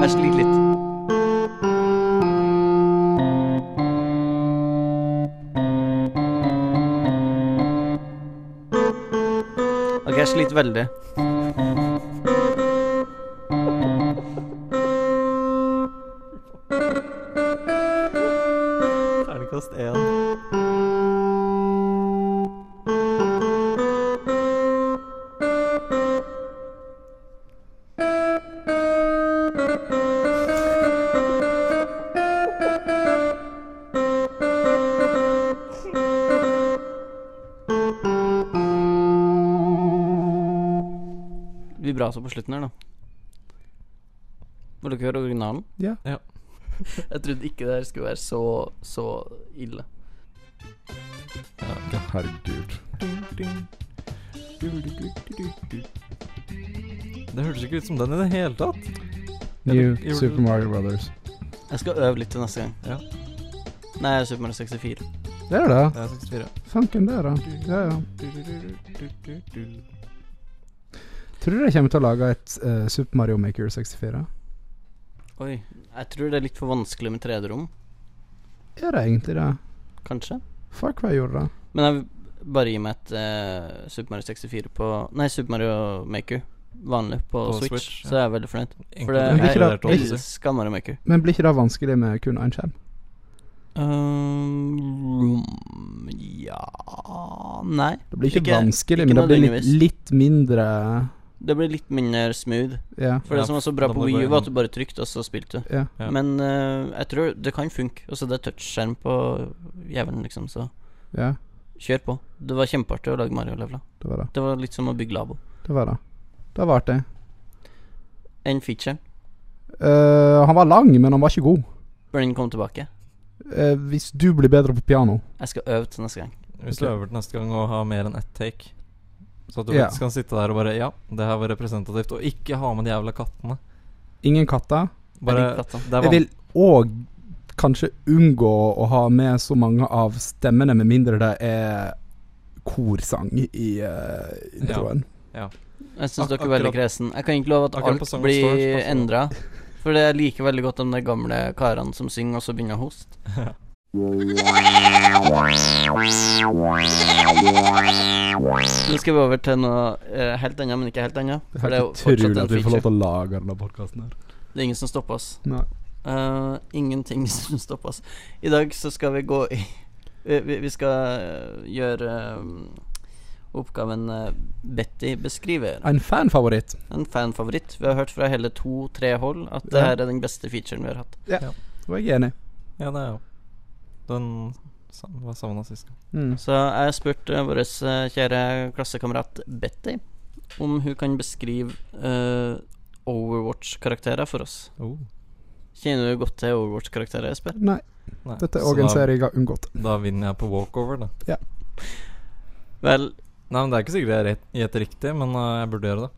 Jeg sliter litt. Ok, jeg sliter veldig. Terningkast én. Vibrato på slutten her, da. Vil dere høre originalen?
Ja.
Ja.
jeg trodde ikke det her skulle være så, så ille.
Herregud.
Det hørtes ikke ut som den i det hele tatt.
New
Gjorde- gjorde-
Super Mario Brothers.
Jeg skal øve litt til neste gang.
Ja.
Nei, Super Mario 64.
Det er det.
Det er 64.
Fanken, det er det. Ja, ja. Tror du de kommer til å lage et eh, Super Mario Maker 64?
Oi. Jeg tror det er litt for vanskelig med 3D-rom,
Er det egentlig det?
kanskje.
Far Cry gjorde det.
Men jeg vil bare gi meg et eh, Super Mario 64 på Nei, Super Mario Maker. Vanlig på,
På
Switch,
Switch, ja.
så er jeg veldig fornøyd. For det
Men
Inkludert
ikke da-
inkludert
ikke-
jeg
oppholdelser.
elsker Mario Maker.
Men blir ikke det vanskelig med kun én skjerm?
Um, ja Nei.
Det blir ikke,
Ikke-
vanskelig,
ikke
men det blir litt,
nødvendigvis.
litt mindre
Det blir litt mindre smooth.
Ja.
For
Ja,
det som var så bra
da
på
må du
Wii U,
gå
var at du bare trykte, og så spilte du.
ja.
Ja.
Men eh, jeg tror det kan funke. Og så det er touchskjerm på jævelen, liksom, så
ja.
kjør på. Det var kjempeartig å lage Mario-leveler.
Det var det.
Det var litt som å bygge labo.
Det var det. Det var artig.
En feature.
Eh, han var lang, men han var ikke god.
Bør den komme tilbake?
Eh, hvis du blir bedre på piano
Jeg skal øve til neste gang.
Hvis du øver til neste gang å ha mer enn ett take. Så at du
Ja.
faktisk kan sitte der og bare Ja, det her var representativt. Og ikke ha med de jævla kattene.
Ingen katter.
Bare
Jeg liker katta.
det er
Jeg
van
vil òg kanskje unngå å ha med så mange av stemmene, med mindre det er korsang i eh, introen.
Jeg syns
Ak-
dere er veldig
akkurat-
kresen. Jeg kan ikke love at
akkurat på
alt
Song of Storms
blir
passer det.
endra. For det jeg liker veldig godt de der gamle karene som synger, og så begynner å hoste. Nå skal vi over til noe eh, helt annet, men ikke helt annet. For det er jo fortsatt
Utrolig
en
at vi får lov
feature.
til å lage denne podkasten her.
Det er ingen som stopper oss.
Nei.
Eh, ingenting som stopper oss. I dag så skal vi gå i vi- Vi, vi skal eh, gjøre eh, oppgaven eh, Betty beskriver.
En fanfavoritt.
En fanfavoritt. Vi har hørt fra hele to-tre hold at
Ja.
det her er den beste featuren vi har hatt.
Og jeg er enig.
Ja, det er jo Den sam- var savna sist gang.
Mm.
Så jeg spurte vår eh, kjære klassekamerat Betty om hun kan beskrive eh, Overwatch-karakterer for oss.
Oh.
Kjenner du godt til Overwatch-karakterer, Espen?
Nei,
Nei.
dette er
så
òg en
da,
serie jeg har unngått.
da vinner jeg på walkover, da.
Vel,
Nei, men Det er ikke sikkert jeg rett- gjetter riktig, men øh, jeg burde gjøre det.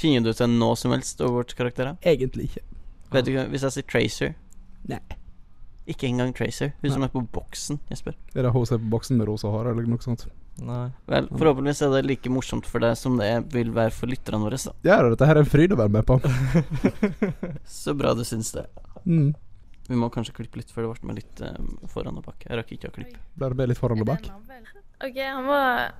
kjenner du til noe som helst Overwatch-karakterer?
Egentlig ikke.
Vet du hva, Hvis jeg sier Tracer
Nei.
Ikke engang Tracer. Hun som er på boksen, Jesper.
Er det hun som er på boksen med rosa hår, eller noe sånt?
Nei.
Vel, forhåpentligvis er det like morsomt for deg som det er- vil være for lytterne våre. da.
Ja, dette her er en fryd å være med på.
Så bra du syns det.
Mm.
Vi må kanskje klippe litt før det ble med litt eh, foran og bak. Jeg rakk ikke å klippe.
Ble det bare litt foran og bak?
Ok, han var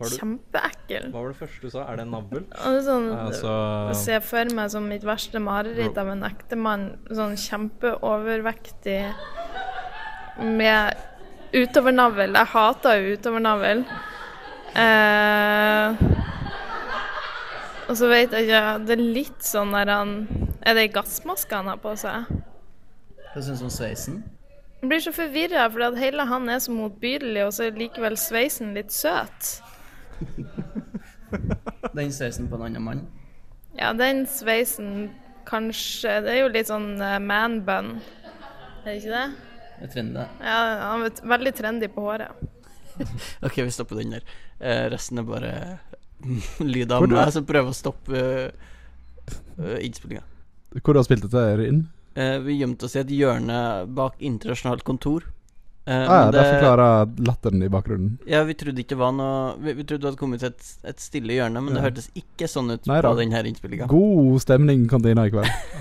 Var du-
kjempeekkel.
Hva var det første du sa? Er det en navl?
Og sånn,
Altså
Jeg ser for meg som mitt verste mareritt av en ektemann. Sånn kjempeovervektig med utovernavl. Jeg hater jo utovernavl. Eh, og så vet jeg ikke Det er litt sånn der han Er det ei gassmaske han har på seg?
Hva syns du om sveisen?
Jeg blir så forvirra, for at hele han er så motbydelig, og så er likevel sveisen litt søt.
Den sveisen på en annen mann?
Ja, den sveisen kanskje Det er jo litt sånn eh, man bun, er det ikke det?
Jeg trener
Ja, han er veldig trendy på håret.
OK, vi stopper den der. Eh, resten er bare lyd av
Hvor du-
meg som prøver å stoppe eh, uh, innspillinga.
Hvor du har spilt dette her inn?
Eh, vi gjemte oss i et hjørne bak internasjonalt kontor. Eh,
Ah, ja,
men
det
det-
forklarer latteren i bakgrunnen.
Ja, vi trodde ikke det var noe Vi, vi trodde det hadde kommet til et, et stille hjørne, men det
Ja.
hørtes ikke sånn ut
Nei
på
da.
denne innspillinga.
God stemning i kantina i kveld.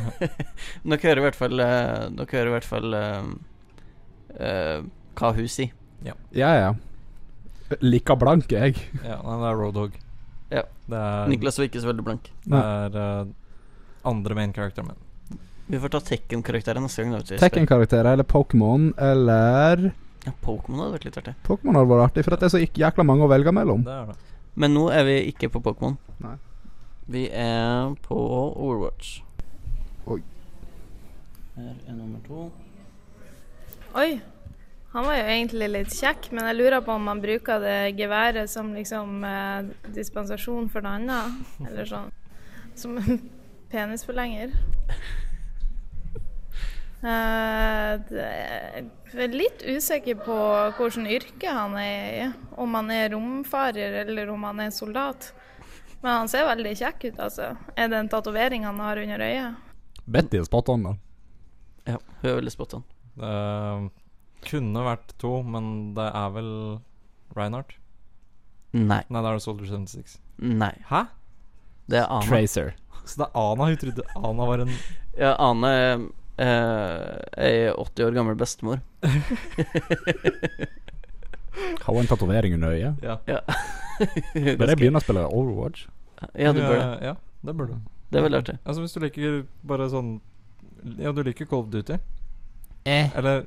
Dere hører i hvert fall eh, Dere hører i hvert fall eh, eh, hva hun sier.
Ja, ja. Lika blank, jeg.
Ja, nei, det er Roadhog.
Ja.
Det er,
Niklas var ikke så veldig blank.
det er eh, andre main character, men
Vi får ta Tekken-karakteren neste gang. da, vet du, Espen.
Tekken-karakterer eller Pokémon eller
Ja, Pokémon hadde vært litt artig.
Pokémon hadde vært artig, for at det er så ikke jækla mange å velge
Mm.
mellom.
det er det.
Men nå er vi ikke på Pokémon.
Nei.
Vi er på Overwatch.
Oi.
Her er nummer to.
Oi. Han var jo egentlig litt kjekk, men jeg lurer på om han bruker det geværet som liksom eh, dispensasjon for det annet, eller sånn. Som en penisforlenger. Eh, det, jeg er litt usikker på hvilket yrke han er i. Om han er romfarer eller om han er soldat. Men han ser veldig kjekk ut, altså. Er det en tatovering han har under øyet?
Betty er spot on, da.
Ja, hun er veldig spot on.
det er- kunne vært to, men det er vel Reinhardt?
Nei.
Nei, da er det Soldier 76.
Nei.
Hæ?
Det er Ana.
Tracer.
Så det er Ana hun trodde Ana var en
Ja, Ane eh, er 80 år gammel bestemor.
Har hun en tatovering under øyet?
Ja,
Bør jeg
Ganske-
begynne å spille Overwatch?
ja, du bør det.
Eh, Ja, det burde du.
Det er veldig artig.
Altså Hvis du liker bare sånn Ja, du liker Call of Duty. Eller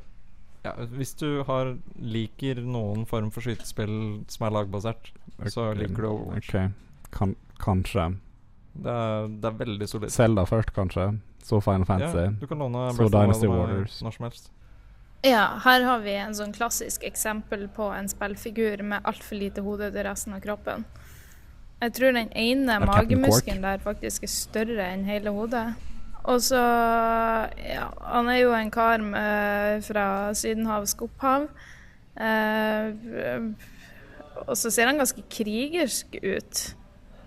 ja, hvis du har liker noen form for skytespill som er lagbasert, så liker du Overwatch.
Ok, kan, kanskje.
Det er, det er veldig solid.
Zelda først, kanskje. Så Final Fantasy.
Ja, du kan låne
Så
Breath of the
Dynasty
Wild av meg
Warriors.
når som helst.
Ja, her har vi en sånn klassisk eksempel på en spillfigur med altfor lite hode til resten av kroppen. Jeg tror den ene
Er Captain
magemuskelen der faktisk er større enn hele hodet. Og så Ja, han er jo en kar med, fra Sydenhav-Skopphav. og så ser han ganske krigersk ut.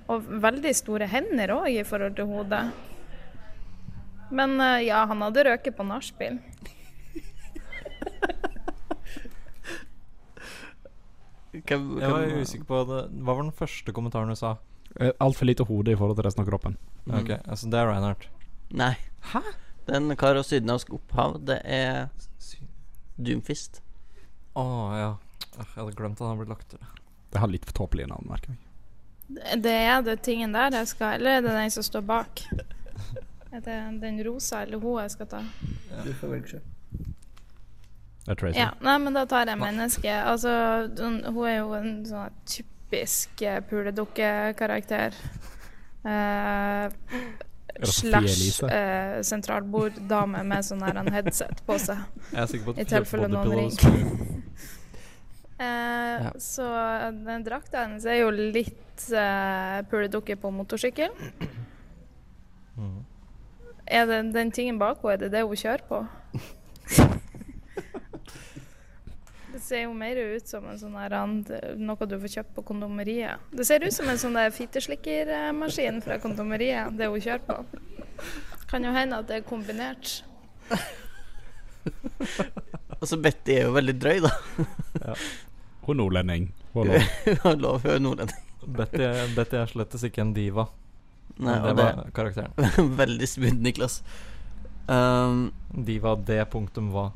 Og veldig store hender òg i forhold til hodet. Men eh, ja, han hadde røket på nachspiel.
Hvem-
Jeg var
hvem-
usikker på det. Hva var den første kommentaren du sa?
Altfor Eh, lite hode i forhold til resten av kroppen.
Mm.
Ok, altså Det er Reinhardt.
Nei.
Hæ?
Det er en kar av sydenhavsk opphav. Det er Doomfist.
Å ja. Ah, Jeg hadde glemt at han ble lagt til.
Det har litt for tåpelige navn, merker jeg.
Det er det tingen der jeg skal Eller er det den som står bak? Er det den rosa eller hun jeg skal ta?
Det er Tracer.
Ja, nei, men da tar jeg mennesket. Altså, hun, hun er jo en sånn typisk eh, puledukkekarakter. Eh,
det Sofie
slash
Elise?
eh, sentralborddame med sånn her en headset på seg.
Jeg er sikker på at
I tilfelle
Body
noen
Pillows-
Eh, Så eh, den drakta hennes er jo litt eh, puledukke på motorsykkel.
Mhm.
Er det den tingen bak henne, er det det hun kjører på? det ser jo mer ut som en sånn her, and- noe du får kjøpt på kondomeriet. Det ser ut som en sånn der fitteslikkermaskin fra kondomeriet, det hun kjører på. Kan jo hende at det er kombinert.
Altså, Betty er jo veldig drøy, da.
Hun er nordlending. Hun er lov.
Hun har lov, hun er nordlending.
Betty, Betty er slettes ikke en diva.
Nei,
det
og det
var karakteren.
er veldig smooth, Niklas. Um,
Diva D. punktum hva.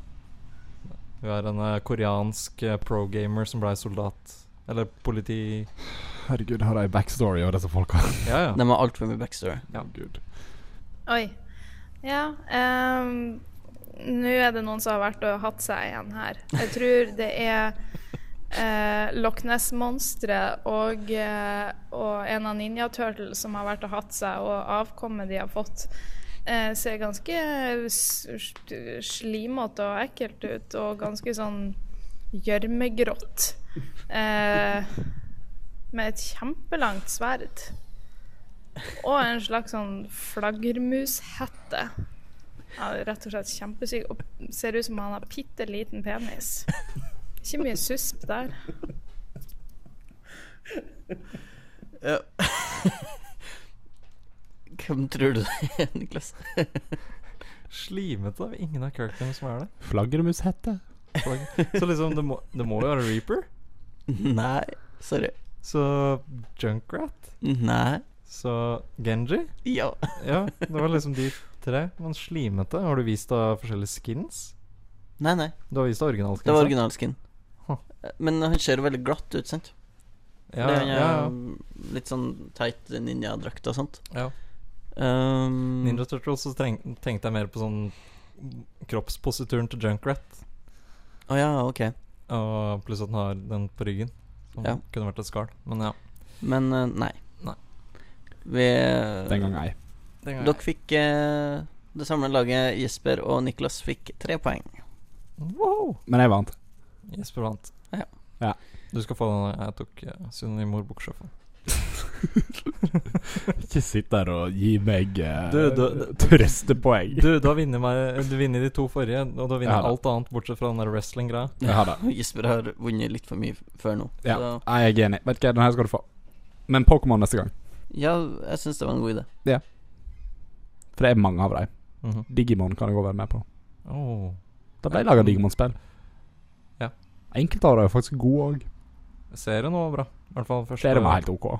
Hun er en eh, koreansk eh, pro-gamer som blei soldat. Eller politi...
Herregud, har de backstory av disse folka?
Ja, ja.
de har altfor mye backstory.
Herregud.
Oi. Ja. ehm, Nå er det noen som har vært og hatt seg igjen her. Jeg tror det er eh, Loch Ness-monsteret og, eh, og en av Ninja Turtles som har vært og hatt seg, og avkommet de har fått, eh, ser ganske s- s- slimete og ekkelt ut, og ganske sånn gjørmegrått. Eh, med et kjempelangt sverd. Og en slags sånn flaggermushette. Ja, rett og slett kjempesyk. Og ser ut som han har bitte liten penis. Ikke mye susp der.
Ja. Hvem tror du det er, Niklas?
Slimete. det er Ingen av characterene som er det.
Flaggermushette?
plagg. Så liksom, det må, det må jo være Reaper.
Nei. Sorry.
Så Junkrat.
Nei.
Så Genji.
Ja.
Ja, det var liksom de tre. Men slimete. Har du vist deg forskjellige skins?
Nei, nei.
Du har vist deg originalskinsa?
Det var originalskin.
Huh.
Men han ser jo veldig glatt ut, sant?
Ja,
det er
ja, ja.
ja. litt sånn teit ninjadrakt og sånt.
Ja.
Um,
Ninja Turtles så treng, tenkte jeg mer på sånn kroppsposituren til Junkrat.
Å ja, ok.
Og pluss at den har den på ryggen. Som
Ja.
kunne vært et skall. Men ja.
Men eh, nei.
Nei.
Vi
Den gang ei.
Dere fikk eh, det samme laget. Jesper og Niklas fikk tre poeng.
Wow!
Men jeg vant.
Jesper vant.
Ja.
Ja.
Du skal få den. Jeg tok uh, Sunniv Buksjøfa.
Ikke sitt der og gi meg eh,
Du, du-
trøstepoeng.
Du, du har vunnet meg Du vinner de to forrige, og du har vunnet
Ja da.
alt annet bortsett fra den der wrestling-greia.
Ja da.
Jesper har vunnet litt for mye f- før nå.
Ja.
Så,
Nei, jeg er enig. Vet du hva, den her skal du få. Men Pokémon neste gang.
ja jeg syns det var en god idé.
For det er mange av dem.
Mhm. Oh.
Digimon kan jeg òg være med på.
Åh.
Da ble jeg laga Digimon-spill.
Ja.
Enkelte av dem er faktisk gode òg.
Serien var bra. I hvert fall første
Flere var helt OK,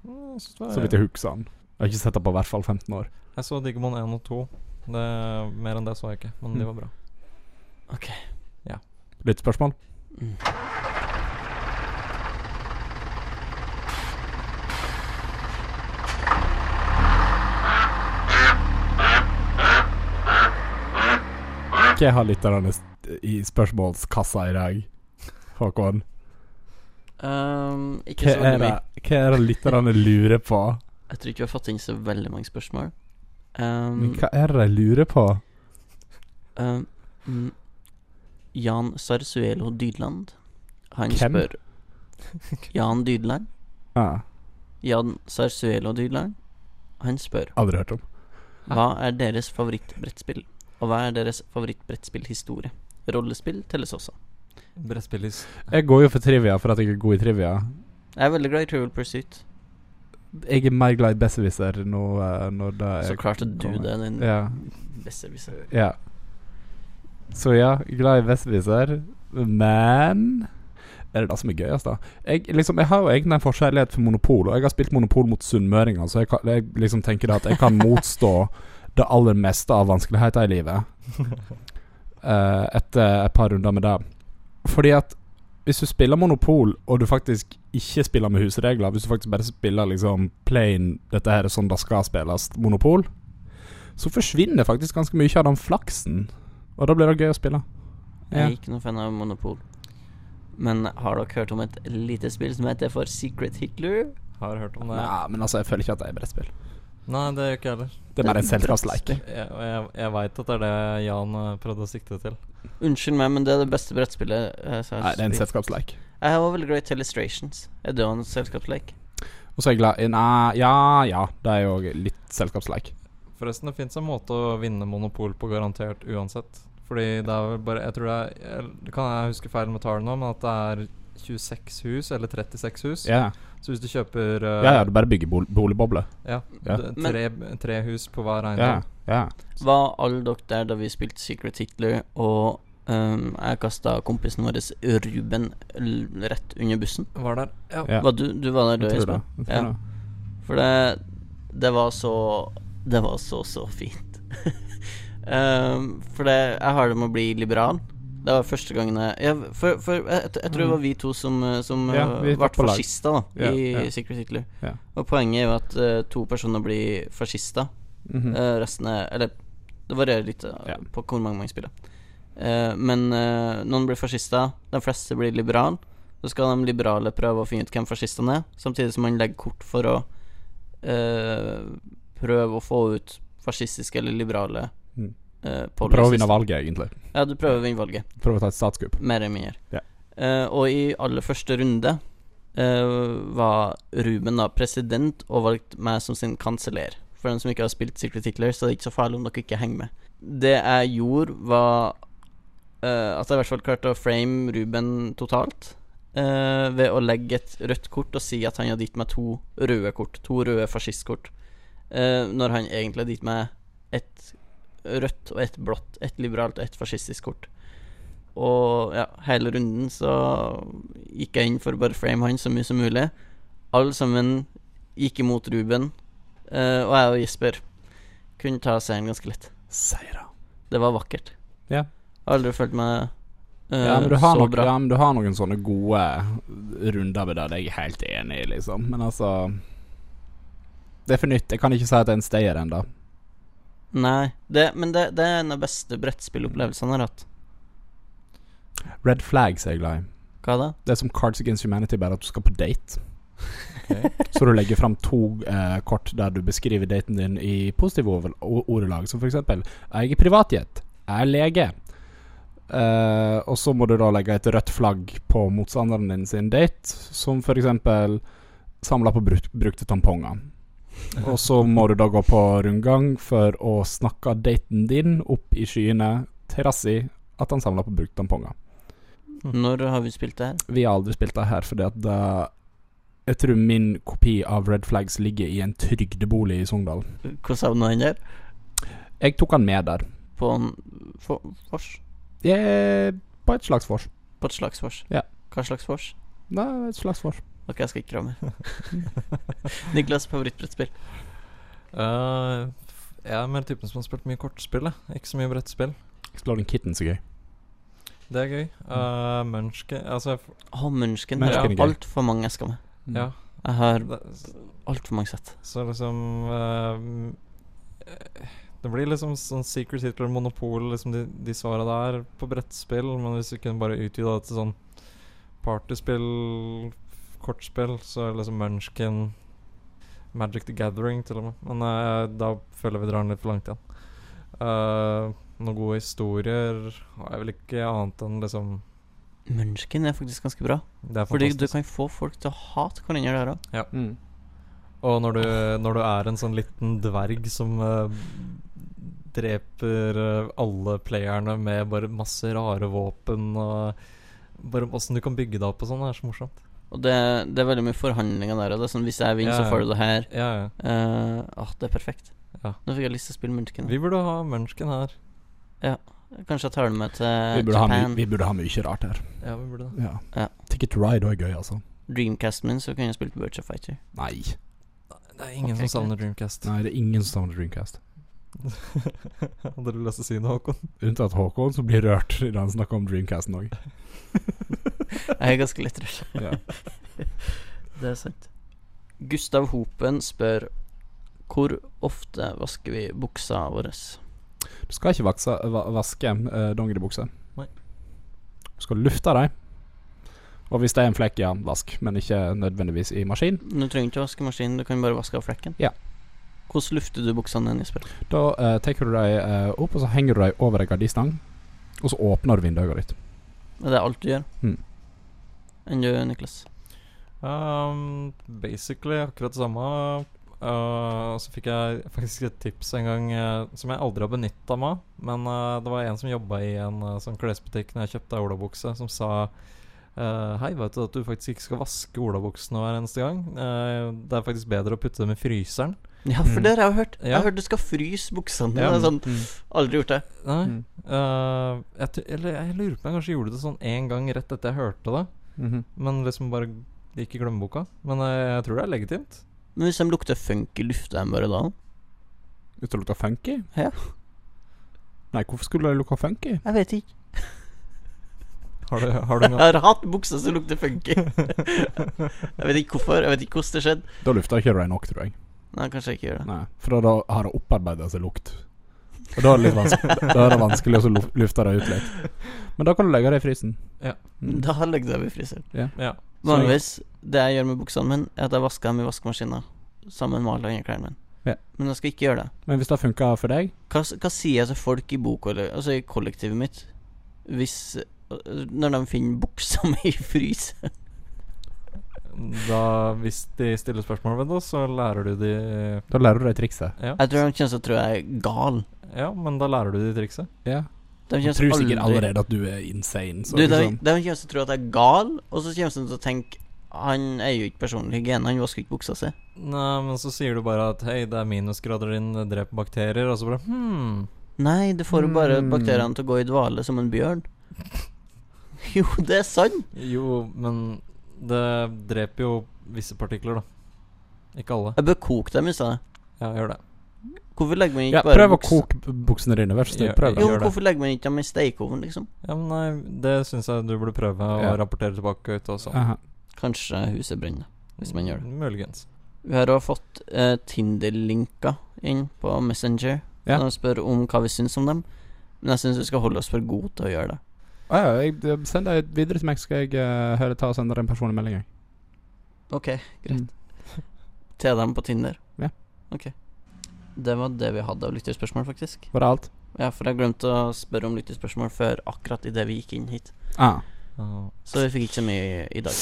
Mm, jeg synes det var-
så vidt jeg husker den. Jeg har ikke sett den på i hvert fall 15 år.
Jeg så Digimon 1 og 2. Det, mer enn det så jeg ikke, men
Mm.
de var bra.
Lyttespørsmål?
Mm.
Hva har lytterne st- i spørsmålskassa i dag, Håkon?
Um, ikke
Hva
så
er
veldig
det,
mye.
hva er det lytterne lurer på?
Jeg tror ikke vi har fått inn så veldig mange spørsmål. Um,
Mm. Men hva er det de lurer på?
um, mm, Jan Sarsuelo Dydland. Han
Hvem?
spør Jan Dydland.
Ah,
Jan Sarsuelo Dydland. Han spør
aldri hørt om.
hva er deres favorittbrettspill, og hva er deres favorittbrettspillhistorie? Rollespill telles også.
Brettspillis.
Jeg går jo for trivia for at jeg er god i trivia.
Jeg er veldig glad i Trivial Pursuit.
Jeg er mer glad i Besserwisser nå eh, når det er
Så klarte du
kommer.
det, din
Ja.
besserwisser.
Ja. Så ja, glad i Vestviser, men er det det som er gøyest, da? Jeg, liksom, jeg har jo egentlig en forkjærlighet for monopol, og jeg har spilt monopol mot sunnmøringer, så jeg, kan, jeg liksom tenker det at jeg kan motstå det aller meste av vanskeligheter i livet eh, etter et par runder med det. Fordi at hvis du spiller monopol, og du faktisk ikke spiller med husregler, hvis du faktisk bare spiller liksom plain 'dette her er sånn det skal spilles' monopol, så forsvinner faktisk ganske mye av den flaksen. Og da blir det gøy å spille.
Jeg
Ja.
er ikke noen fan av Monopol. Men har dere hørt om et lite spill som heter for Secret Hitler?
Har hørt om det.
Nei, men altså, jeg føler ikke at det er brettspill.
Nei, det gjør ikke jeg heller.
Det er bare en selskapsleik.
Jeg, og jeg, jeg veit at det er det Jan eh, prøvde å sikte til.
Unnskyld meg, men det er det beste brettspillet eh, som jeg
Nei,
har
det er en
spilt.
selskapsleik.
Jeg er også veldig glad i Telestrations. Er det også en selskapsleik?
Og så er jeg glad i Nei, ja, ja. Det er jo litt selskapsleik.
Forresten, det fins en måte å vinne monopol på garantert uansett. Fordi det er vel bare Jeg tror det er jeg- Det kan jeg huske feil med tallene nå, men at det er 26 hus, eller 36 hus.
Ja,
Så hvis du kjøper eh,
ja. ja du bare bygger bol boligboble.
ja,
Ja.
d- Tre, tre hus på hver
Ja,
eiendom.
ja.
Var alle dere der da vi spilte Secret Hitler, og ehm, jeg kasta kompisen vår Ruben l- rett under bussen?
Var der. Ja.
Ja.
Var du, du var der,
Jeg
du,
tror det.
Espen?
Jeg
Ja.
tror det.
For det Det var så Det var så, så fint. Ehm, for det Jeg har det med å bli liberal. Det var første gangen jeg ja, For, for jeg, jeg tror det var vi to som, eh, som
Ja,
eh,
vi var
ble
på lag.
fascister da,
Ja,
i
ja.
Secret Hitler.
Ja.
Og poenget er jo at eh, to personer blir fascister.
Mhm.
Eh, resten er Eller det varierer litt eh,
Ja.
på hvor mange man spiller. Eh, men eh, noen blir fascister, de fleste blir liberale. Så skal de liberale prøve å finne ut hvem fascistene er, samtidig som man legger kort for å eh, prøve å få ut fascistiske eller liberale
Mm.
eh,
Prøv å vinne
policies.
valget, egentlig.
Ja, du prøver å vinne valget.
Prøv å ta et statskupp.
Mer eller mindre.
Ja.
Eh, og i aller første runde eh, var Ruben da president og valgte meg som sin kanseller. For dem som ikke har spilt Secret Hitler, så det er ikke så farlig om dere ikke henger med. Det jeg gjorde, var eh, at jeg i hvert fall klarte å frame Ruben totalt. eh, ved å legge et rødt kort og si at han hadde gitt meg to røde kort. To røde fascistkort. eh, når han egentlig hadde gitt meg ett rødt og ett blått. Ett liberalt og ett fascistisk kort. Og ja, hele runden så gikk jeg inn for å bare frame han så mye som mulig. Alle sammen gikk imot Ruben, eh, og jeg og Jesper kunne ta seieren ganske lett.
Seira.
Det var vakkert.
Ja.
Jeg har aldri følt meg eh,
Ja, men du har,
så
nok,
bra.
ja, men du har noen sånne gode runder med det. Jeg er helt enig i, liksom. Men altså Det er for nytt. Jeg kan ikke si at det er en stayer ennå.
Nei, det, men det, det er en av de beste brettspillopplevelsene jeg har hatt.
Red flags er jeg glad i.
Hva da?
Det er som Cards Against Humanity, bare at du skal på date.
Ok.
Så du legger fram to eh, kort der du beskriver daten din i positive over- o- ordelag, som f.eks.: Jeg er privatjet. Jeg er lege. Eh, og så må du da legge et rødt flagg på motstanderen din sin date, som f.eks. samla på bruk brukte tamponger. Og så må du da gå på rundgang for å snakke daten din opp i skyene, trass i at han samla på brukte tamponger. Mm.
Når har vi spilt det her?
Vi har aldri spilt det her, fordi at det, jeg tror min kopi av Red Flags ligger i en trygdebolig i Sogndal.
Hvordan havna han der?
Jeg tok han med der.
På en for, vors?
Jeg, på et slags vors.
På et slags vors?
Ja.
Hva slags vors?
Nei, et slags vors.
Ok, jeg skal ikke ramme. Niklas, favorittbrettspill?
Eh, f- jeg er mer typen som har spilt mye kortspill. jeg. Ikke så mye brettspill.
Exploring Kitten, så gøy.
Det er gøy. Uh, Munchkin Altså, jeg f-
Å, Munchken.
Munchkin
Jeg
er
har
gøy.
altfor mange esker med.
Mm.
ja.
Jeg har
Det,
altfor mange sett.
så liksom eh, eh, Det blir liksom sånn Secret Hitler Monopol, liksom de, de svara der, på brettspill. Men hvis vi kunne bare utvida det til sånn partyspill, kortspill, så er det liksom Munchkin Magic the Gathering, til og med. Men eh, da føler vi drar den litt for langt igjen. Eh, noen gode historier har jeg vel ikke annet enn liksom
Munchken er faktisk ganske bra.
Det er
Fordi du
fantastisk.
kan få folk til å hate hverandre der òg.
Mm.
Og når du, når du er en sånn liten dverg som eh, dreper eh, alle playerne med bare masse rare våpen og Bare åssen du kan bygge det opp og sånn, det er så morsomt.
Og det, det er veldig mye forhandlinger der òg. Sånn, hvis jeg vinner,
Ja.
så får du det her.
Ja, ja.
Eh, ah, det er perfekt.
Ja.
Nå fikk jeg lyst til å spille Munchken.
Vi burde ha Munchkin her.
Kanskje jeg tar det med til
Vi burde, ha,
Eh, Japan.
my- vi burde ha mye rart her.
Ja, vi burde det.
Ja.
Ja.
Ticket to Ride òg er gøy, altså.
Dreamcasten min, så kunne jeg spilt Birds of Fighter.
Nei.
Det er ingen
Ok,
som savner Dreamcast.
Nei, det er ingen som savner Dreamcast.
Hadde du lyst til å si noe, Håkon?
Unntatt Håkon, som blir rørt når han snakker om Dreamcasten òg.
Jeg er ganske lettrørt.
Ja.
Det er sant. Gustav Hopen spør hvor ofte vasker vi buksa vår?
Du skal ikke vaksa, va vaske uh, dongeribukser.
Nei.
Du skal lufte dem. Og hvis det er en flekk, ja, vask, men ikke nødvendigvis i maskin.
Du trenger ikke vaskemaskin, du kan bare vaske av flekken.
Ja.
Hvordan lufter du buksene dine, Jesper?
Da eh, tar du dem eh, opp, og så henger du dem over ei gardistang. Og så åpner du vinduet ditt.
Er det alt du gjør?
Mm.
Hmm.
Enn du, Niklas?
Um, basically akkurat det samme. Uh, så fikk jeg faktisk et tips en gang eh, som jeg aldri har benytta meg av. Men eh, det var en som jobba i en eh, sånn klesbutikk når jeg kjøpte ei olabukse, som sa eh, Hei, vet du at du faktisk ikke skal vaske olabuksene hver eneste gang? Eh, det er faktisk bedre å putte dem i fryseren.
Ja, for
Mm.
det har jeg hørt. Jeg
Hmm. Ja.
har hørt du skal fryse buksene.
Ja.
dine Sånn, aldri gjort det.
Nei.
Mm.
eh, jeg, tu- eller jeg lurer på om jeg kanskje gjorde det sånn én gang rett etter jeg hørte det.
Mhm.
Men liksom bare gikk i glemmeboka. Men eh, jeg tror det er legitimt.
Men hvis de lukter funky, lufter de bare da?
Hvis det lukter funky?
Ja.
Nei, hvorfor skulle det lukte funky?
Jeg vet ikke.
Har du, har du
Jeg
noe
har hatt bukser som lukter funky. jeg vet ikke hvorfor. Jeg vet ikke hvordan det skjedde.
Da lufter ikke du dem nok, tror jeg.
Nei, kanskje jeg ikke gjør det.
Nei, For da har det opparbeida seg lukt. Og da er det litt vanskelig, da er det vanskelig å så lu- lufte det ut litt. Men da kan du legge det i frysen.
Ja.
Mm.
Da legger jeg meg i fryseren.
Ja.
Vanligvis, det jeg gjør med buksene mine, er at jeg vasker dem i vaskemaskinen sammen med alle andre klærne mine.
Ja.
Men jeg skal ikke gjøre det.
Men hvis det funker for deg
Hva, s- hva sier jeg til folk i bok, eller, altså i kollektivet mitt, hvis øh, Når de finner buksa mi i fryseren?
Da, hvis de stiller spørsmål ved det, så lærer du de
Da lærer du deg trikset.
Ja,
Jeg tror de kommer til å tro jeg er gal.
ja men da lærer du de trikset.
Ja.
De
Du
kommer til
tror
å
sikkert
aldri-
allerede at du er insane. Så
Du, de,
liksom.
de kommer til å tro at jeg er gal, og så kommer de til å tenke Han er jo ikke personlig hygiene, han vasker ikke buksa si.
Nei, men så sier du bare at hei, det er minusgrader din, det dreper bakterier, og så bare hm.
Nei, det får jo bare
Mm.
bakteriene til å gå i dvale som en bjørn. Jo, det er sant!
Jo, men det dreper jo visse partikler, da. Ikke alle.
Jeg bør koke dem i stedet.
Ja, gjør det.
Hvorfor legger man ikke
Ja,
bare
prøv å
buks-
koke b- buksene dine, vær så snill.
Ja,
Prøv det.
Jo,
gjør det.
hvorfor legger man ikke dem i stekeovnen, liksom?
Ja, men nei, det syns jeg du burde prøve å
Ja.
rapportere tilbake ut også.
Aha.
Kanskje huset brenner, hvis man gjør det.
Muligens.
Vi har også fått eh, Tinder-linker inn på Messenger.
Ja.
De spør om hva vi syns om dem. Men jeg syns vi skal holde oss for gode til å gjøre det.
Å ja, jeg, jeg- send deg videre til meg, skal jeg eh, høre, ta og sende deg en personlig melding. jeg.
Ok, greit.
Mm.
Til dem på Tinder?
Ja.
Ok. Det var det vi hadde av lytterspørsmål, faktisk.
Var det alt?
Ja, for jeg glemte å spørre om lytterspørsmål før akkurat idet vi gikk inn hit.
Ah.
Ja.
Så vi fikk ikke så mye i, i dag.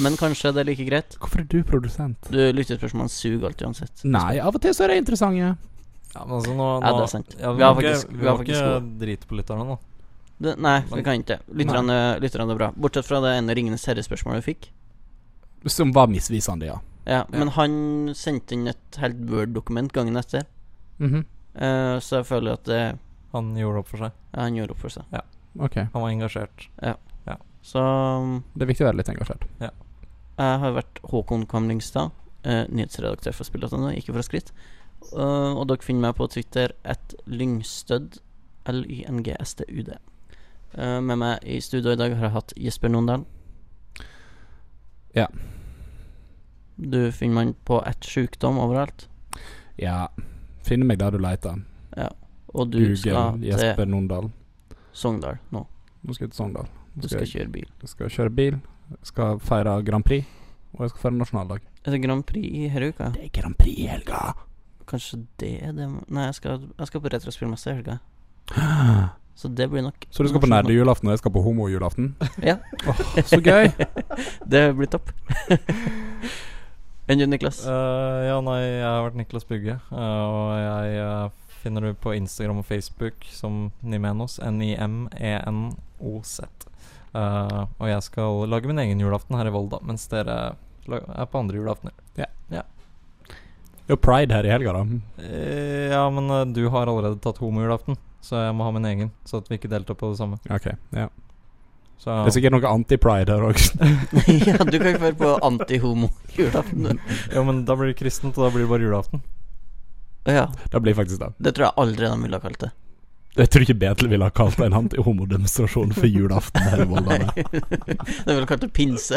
Men kanskje det er like greit.
Hvorfor er du produsent?
Du, lytterspørsmål suger alt uansett.
Nei, av og til så er de interessante.
Ja, men altså nå, nå
Ja, det er sant.
Ja, vi,
Vi har
må ikke-
faktisk-
vi
vi
må
har faktisk
ikke drite på lytterne nå.
Det, nei, vi
Men-
kan ikke. Lytterne, lytterne er bra. Bortsett fra det ene Ringenes herre-spørsmålet vi fikk.
Som var misvisende, ja.
Ja, Men han sendte inn et helt Word-dokument gangen etter,
Mhm,
Eh, så jeg føler at det,
Han gjorde opp for seg.
ja, han gjorde opp for seg.
Ok.
Han var engasjert.
Så um,
Det er viktig å være litt engasjert.
Jeg har vært Håkon Kamlingstad, eh, nyhetsredaktør for Spill.no, ikke for å skryte. Eh, og dere finner meg på Twitter at lyngstødd, L-Y-N-G-S-T-U-D. Eh, med meg i studio i dag har jeg hatt Jesper Nondal.
Ja.
Du finner man på ett sjukdom overalt.
Ja. Finn meg der du leter.
Og du skal
Google
til
Jesper Nondal.
Sogndal nå.
Nå skal jeg til Sogndal. Nå
Du
skal
skal
jeg,
kjøre bil.
jeg skal kjøre bil, jeg skal feire Grand Prix, og jeg skal feire nasjonaldag.
Er det Altså, Grand Prix i denne uka?
Det er Grand Prix i helga!
Kanskje det er det Nei, jeg skal, jeg skal på retrospillmesse i helga. Så det blir nok
Så du skal på nerdejulaften, og jeg skal på homojulaften?
Ja.
Åh, så gøy!
Det blir topp. Enn du, Niklas?
Eh, ja, nei, jeg har vært Niklas Bugge, eh, og jeg eh, finner du på Instagram og Facebook som Nimenos. E N-i-m-e-n-o-z. Eh, og jeg skal lage min egen julaften her i Volda, mens dere la- er på andre julaftener.
Det er jo pride her i helga, da.
Eh, ja, men eh, du har allerede tatt homojulaften, så jeg må ha min egen. Så at vi ikke deltar på det samme.
Ok, ja.
Så,
Det er sikkert noe anti-pride her òg.
ja, du kan ikke være på antihomo-julaften. du.
jo, men da blir det kristent, og da blir det bare julaften.
Å Ja,
Det blir faktisk det.
det tror jeg aldri de ville ha kalt det.
Jeg tror ikke Betel ville ha kalt det en anti-homodemonstrasjon for julaften her i Volda.
Nei. de ville kalt det pinse.